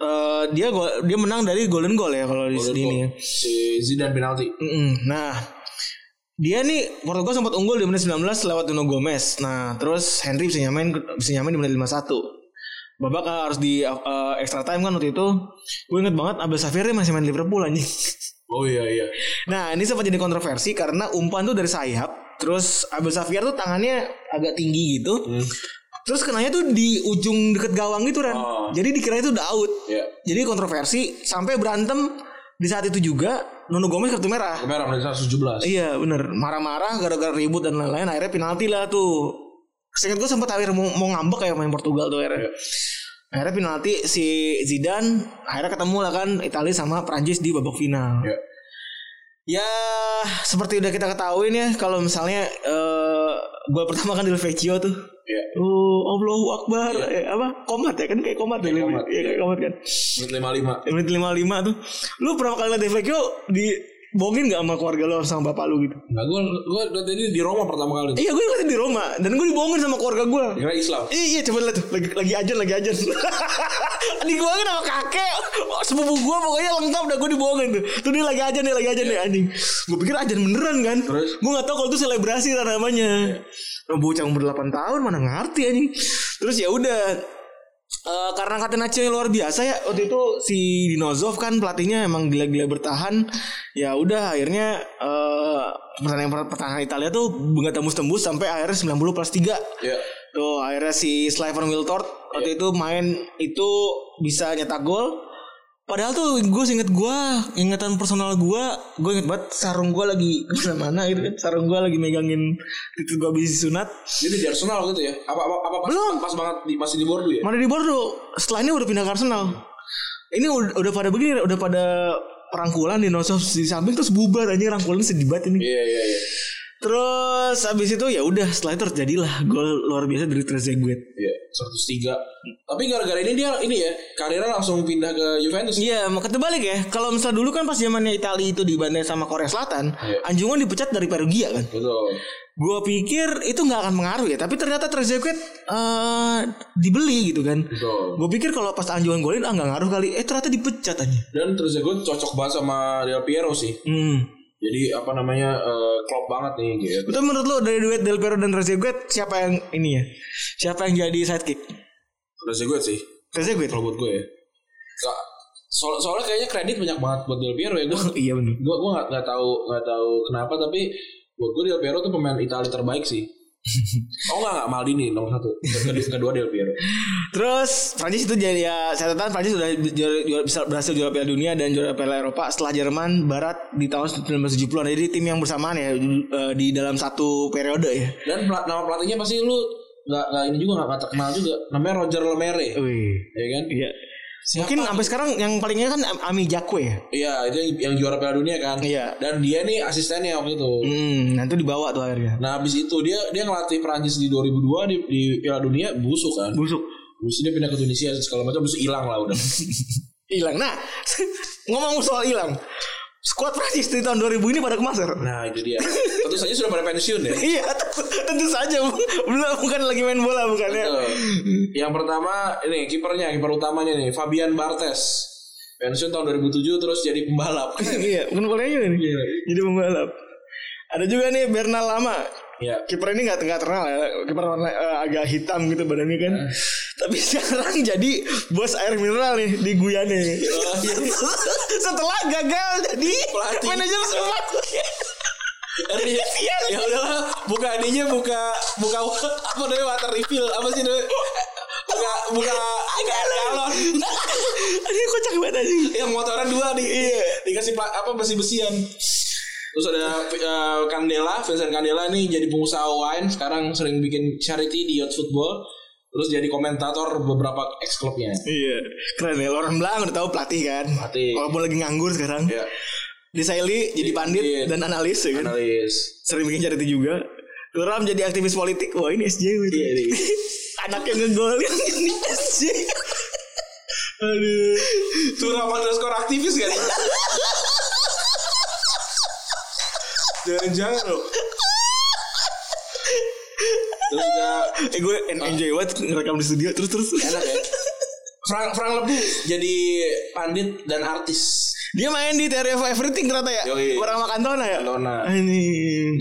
S2: eh, Dia go- dia menang dari golden goal ya Kalau di
S3: Golden
S2: sini
S3: goal. Si Zidane penalti.
S2: Mm-mm. Nah, dia nih Portugal sempat unggul di menit 19 lewat Nuno Gomez. Nah, terus Henry bisa nyamain bisa nyamain di menit 51. Babak eh, harus di eh, extra time kan waktu itu. Gue inget banget Abel Safiri masih main Liverpool anjing. *laughs*
S3: Oh iya iya.
S2: Nah, ini sempat jadi kontroversi karena umpan tuh dari sayap. Terus Abel Safir tuh tangannya agak tinggi gitu.
S3: Hmm.
S2: Terus kenanya tuh di ujung deket gawang gitu kan.
S3: Oh.
S2: Jadi dikira itu udah out.
S3: Iya.
S2: Jadi kontroversi sampai berantem di saat itu juga Nuno Gomez kartu merah.
S3: Kartu merah menit 117.
S2: Iya bener Marah-marah gara-gara ribut dan lain-lain Akhirnya penalti lah tuh Seingat gue sempat akhirnya mau, mau ngambek kayak main Portugal tuh
S3: Iya.
S2: akhirnya Akhirnya penalti si Zidane Akhirnya ketemu lah kan Italia sama Prancis di babak final
S3: Iya.
S2: Ya seperti udah kita ketahui nih ya, Kalau misalnya eh Gue pertama kan Del Vecchio tuh
S3: Iya.
S2: Oh Allahu Akbar Eh, Apa? Komat ya kan kayak komat ya, Lin?
S3: komat.
S2: Iya kayak komat kan
S3: Menit 55.
S2: Menit 55 tuh Lu berapa kali liat Del Vecchio Di bohongin gak sama keluarga lo sama bapak lo gitu?
S3: Enggak, gue gue tadi di Roma pertama kali.
S2: Iya gue ngeliatin di Roma dan gue dibohongin sama keluarga gue.
S3: Kira Islam.
S2: Iya, iya coba lihat tuh lagi lagi ajan lagi ajan. *laughs* Adik gue kan sama kakek, sepupu gue pokoknya lengkap dah gue dibohongin tuh. Tuh dia lagi ajan nih lagi ajan nih anjing. Gue pikir ajan beneran kan.
S3: Terus?
S2: Gue nggak tahu kalau itu selebrasi lah namanya. Nah, bocah umur 8 tahun mana ngerti anjing. Terus ya udah Eh, karena Katen Aceh luar biasa ya waktu itu si Dinozov kan pelatihnya emang gila-gila bertahan ya udah akhirnya eh pertandingan pertahanan Italia tuh nggak tembus tembus sampai akhirnya 90 plus 3
S3: Iya.
S2: tuh akhirnya si Slaven Wiltord waktu itu main itu bisa nyetak gol padahal tuh gue inget gue ingatan personal gue gue inget banget sarung gue lagi kemana-mana gitu kan sarung gue lagi megangin itu gue habis sunat
S3: Jadi di Arsenal gitu ya. Apa apa, apa pas,
S2: Belum.
S3: pas banget di, masih di Bordeaux ya?
S2: Mana di Bordeaux. Setelah ini udah pindah ke Arsenal. Ini udah, udah pada begini, udah pada perangkulan di di samping terus bubar aja rangkulan sedih banget ini.
S3: Iya iya iya.
S2: Terus abis itu ya udah setelah itu terjadilah gol luar biasa dari Trezeguet.
S3: Iya, 103. Tapi gara-gara ini dia ini ya, karirnya langsung pindah ke Juventus.
S2: Iya, maka terbalik ya. Kalau misalnya dulu kan pas zamannya Italia itu dibantai sama Korea Selatan,
S3: Iya.
S2: Anjungan dipecat dari Perugia kan.
S3: Betul.
S2: Gua pikir itu nggak akan mengaruh ya, tapi ternyata Trezeguet eh dibeli gitu kan.
S3: Betul.
S2: Gue pikir kalau pas Anjungan golin ah nggak ngaruh kali. Eh ternyata dipecat aja.
S3: Dan terus gue cocok banget sama Del Piero sih.
S2: Hmm.
S3: Jadi apa namanya eh, klop banget nih gitu.
S2: Itu menurut lo dari duet Del Piero dan Trezeguet siapa yang ini ya? Siapa yang jadi sidekick?
S3: Terus gue sih
S2: Trezeguet.
S3: kalau buat gue ya. Nggak- soal- soalnya kayaknya kredit banyak banget buat Del Piero ya. Gue
S2: iya benar.
S3: gue gue nggak nggak tahu nggak tahu kenapa tapi buat gue Del Piero tuh pemain Italia terbaik
S2: *laughs*
S3: sih. oh nggak nggak Maldini nomor satu. Kedua, kedua Del Piero.
S2: Terus Prancis itu jadi ya catatan Prancis sudah juara- juara- bisa- berhasil juara Piala Dunia dan juara Piala Eropa setelah Jerman Barat di tahun 1970-an. Jadi tim yang bersamaan ya eh, di dalam satu periode ya.
S3: Dan pela- nama pelatihnya pasti lu nggak nggak ini juga nggak- nggak terkenal juga. Namanya Roger Lemere.
S2: Wih.
S3: Ya kan?
S2: Iya. Mungkin sampai sekarang yang palingnya kan Am- Ami Jakwe ya.
S3: Iya itu yang, yang juara Piala Dunia kan.
S2: Iya.
S3: Dan dia nih asistennya waktu itu.
S2: Hmm, nanti dibawa tuh akhirnya.
S3: Nah habis itu dia dia ngelatih Prancis di 2002 di, di Piala Dunia busuk kan.
S2: Busuk.
S3: Habis itu dia pindah ke Tunisia segala macam busuk hilang
S2: *laughs*
S3: lah udah.
S2: Hilang. Nah, *laughs* ngomong soal hilang. Skuad Prancis di tahun 2000 ini pada kemaser. *laughs*
S3: nah itu dia. Tentu saja sudah pada pensiun ya.
S2: Iya tentu, tentu saja *laughs* Bu. belum bukan lagi main bola bukan ya.
S3: Betul. Yang pertama ini kipernya kiper utamanya nih Fabian Bartes. Pensiun tahun 2007 terus jadi pembalap.
S2: iya bukan bolanya ini. Jadi pembalap. Ada juga nih Bernal lama.
S3: ya.
S2: Kiper ini nggak nggak terkenal ya. Kiper warna eh, agak hitam gitu badannya
S3: Ah.
S2: kan. Tapi *laughs* sekarang jadi bos air mineral nih di Guyane.
S3: Iya.
S2: *laughs* Setelah gagal jadi
S3: Pelatih. Iya.
S2: manajer sepak.
S3: ya, ya udahlah buka ininya buka buka apa namanya water refill apa sih namanya buka buka galon
S2: *laughs* Aduh kocak banget anjing.
S3: yang motoran dua di dikasih pla- apa besi besian terus ada eh, Candela Vincent Candela nih jadi pengusaha wine sekarang sering bikin charity di youth football terus jadi komentator beberapa ex klubnya
S2: Iya, keren ya. Orang Belang udah tahu pelatih kan.
S3: Pelatih.
S2: Walaupun lagi nganggur sekarang.
S3: ya
S2: Disaili jadi pandit
S3: Iya.
S2: dan analis ya kan.
S3: analis
S2: sering bikin charity juga Turam jadi aktivis politik wah ini gitu. SJW tuh.
S3: Iya, ini.
S2: *laughs* anaknya ngegolin *laughs* ini SJW aduh
S3: Turam underscore aktivis kan jangan-jangan loh terus ada
S2: eh gue en- enjoy banget ngerekam di studio terus terus
S3: Ah. enak ya Frank Frank Lebu jadi pandit dan artis
S2: dia main di Theory of Everything ternyata ya
S3: Yoi.
S2: orang makan tona ya
S3: Cantona.
S2: ini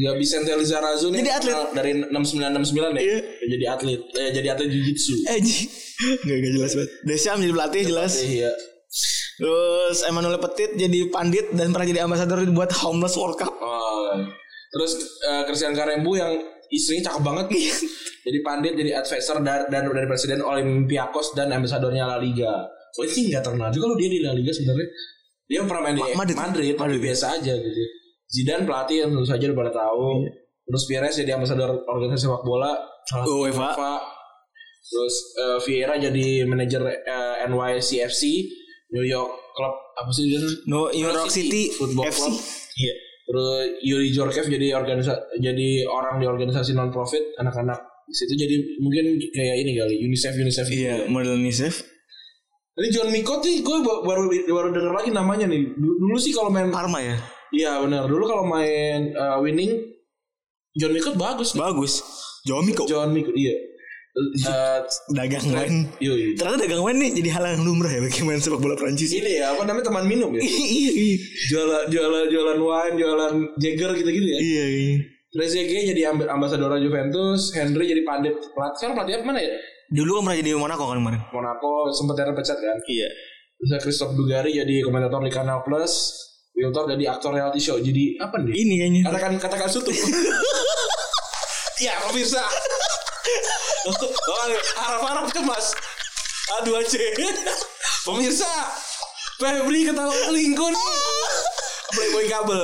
S3: Gak bisa Lizarazu nih
S2: Jadi atlet.
S3: terkenal ya? dari 6969 ya.
S2: Iya.
S3: Jadi atlet. Eh, jadi atlet jiu-jitsu.
S2: eh Ji. nggak nggak jelas banget Desiam jadi pelatih jelas
S3: Iya.
S2: terus Emmanuel Petit jadi pandit dan pernah jadi ambasador buat homeless World Cup
S3: Oh. Terus eh, Christian Karembu yang istrinya cakep banget. jadi pandit, jadi advisor dan, dan dari presiden Olympiakos dan ambasadornya La Liga. Oh ini gak terkenal juga loh dia di La Liga sebenarnya. Dia pernah main di
S2: Madrid.
S3: Madrid, tapi biasa aja gitu. Zidane pelatih yang tentu saja udah pada tahu. Terus Pires jadi ambasador organisasi sepak bola. Iya. Salah
S2: Oh, UEFA.
S3: UEFA. Terus eh, Vieira jadi manajer eh, NYCFC New York Club apa sih dia?
S2: no New York City,
S3: Football
S2: FC
S3: Club.
S2: Iya.
S3: Terus Yuri Jorkev jadi organisa jadi orang di organisasi non profit anak-anak di situ jadi mungkin kayak ini kali UNICEF UNICEF gitu
S2: Iya,
S3: ya.
S2: model Nisef.
S3: Ini John Miko tuh gue ba- baru baru denger lagi namanya nih. Dulu, dulu sih kalau main
S2: Parma ya?
S3: Iya benar. Dulu kalau main eh, winning John Mikut bagus. nih.
S2: Bagus. Jomi kok
S3: John Mikut iya. Eh,
S2: dagang main.
S3: yoi.
S2: Ternyata dagang main nih jadi hal yang lumrah ya bagi main sepak bola Prancis.
S3: Ini ya apa namanya teman minum ya.
S2: Iya iya.
S3: jualan jualan jualan wine, jualan Jagger gitu-gitu ya.
S2: Iya iya.
S3: Trezeguet jadi amb- ambasador Juventus, Henry jadi pandit pelatih. Sekarang pelatihnya kemana ya?
S2: Dulu kan pernah jadi Monaco kan kemarin.
S3: Monaco sempat terpecat kan.
S2: Iya.
S3: Bisa Christophe Dugari jadi komentator di Kanal Plus, Wiltor jadi aktor reality show. Jadi apa nih?
S2: Ini kayaknya.
S3: Katakan katakan
S2: *laughs*
S3: sutu. ya, pemirsa. Oh, harap-harap cemas. Aduh aja. Pemirsa, Febri ketawa kelingkun. Playboy kabel.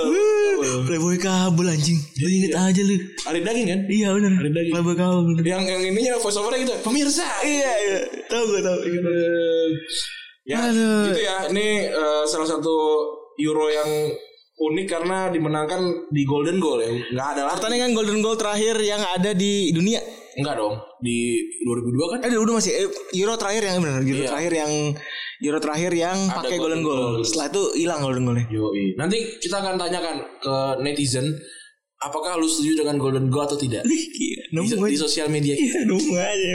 S2: Playboy kabel anjing. Lu inget aja lu.
S3: Ada daging kan?
S2: Iya benar.
S3: Ada daging.
S2: Playboy kabel bener.
S3: Yang yang ininya voice over gitu. Pemirsa.
S2: Iya iya. Tahu gue tahu.
S3: Aduh. Ya,
S2: Aduh.
S3: gitu ya. Ini eh, salah satu Euro yang unik karena dimenangkan di golden goal ya. Enggak ada lah.
S2: Pertandingan Golden Goal terakhir yang ada di dunia.
S3: Enggak dong. Di 2002 kan
S2: Eh dulu masih eh, Euro terakhir yang benar. Euro
S3: Iya.
S2: terakhir yang Euro terakhir yang
S3: Ada
S2: pakai Golden
S3: Golden
S2: Goal.
S3: Goal.
S2: Setelah itu hilang Golden Goalnya.
S3: Yoi. Nanti kita akan tanyakan ke netizen apakah lu setuju dengan Golden Goal atau tidak di,
S2: Iya, nemu
S3: so- di
S2: aja.
S3: sosial media.
S2: *laughs*
S3: kita.
S2: Iya, nemu aja.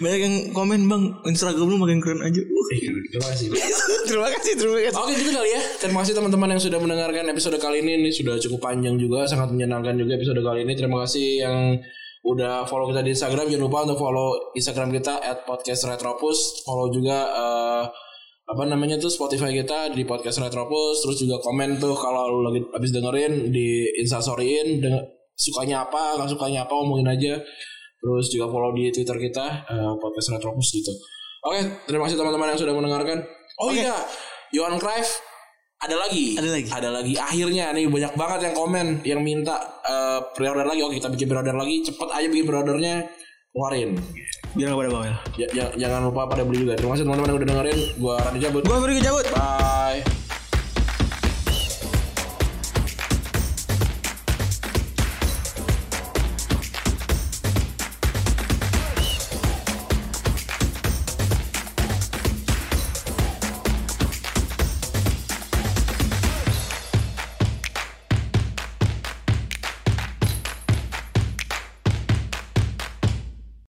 S2: Banyak yang komen bang, Instagram lu makin keren aja. Uh.
S3: Eh, Terima kasih.
S2: terima kasih, terima kasih.
S3: Oke gitu kali ya. Terima kasih teman-teman yang sudah mendengarkan episode kali ini. Ini sudah cukup panjang juga, sangat menyenangkan juga episode kali ini. Terima kasih yang udah follow kita di Instagram. Jangan lupa untuk follow Instagram kita @podcastretropus. Follow juga eh, apa namanya tuh Spotify kita di podcast Retropus. Terus juga komen tuh kalau lu lagi habis dengerin di Instastoryin denger, sukanya apa, nggak sukanya apa omongin aja. Terus juga follow di Twitter kita eh, podcast Retropus gitu. Oke, terima kasih teman-teman yang sudah mendengarkan. Oh
S2: Oke.
S3: iya, Johan Cruyff ada lagi.
S2: Ada lagi.
S3: Ada lagi. Akhirnya nih banyak banget yang komen yang minta eh, pre-order lagi. Oke, kita bikin pre-order lagi. Cepet aja bikin pre-ordernya. Keluarin.
S2: Biar gak pada bawel.
S3: Ya- ya- jangan lupa pada beli juga. Terima kasih teman-teman yang udah dengerin. Gua Randy cabut.
S2: Gue pergi cabut.
S3: Bye.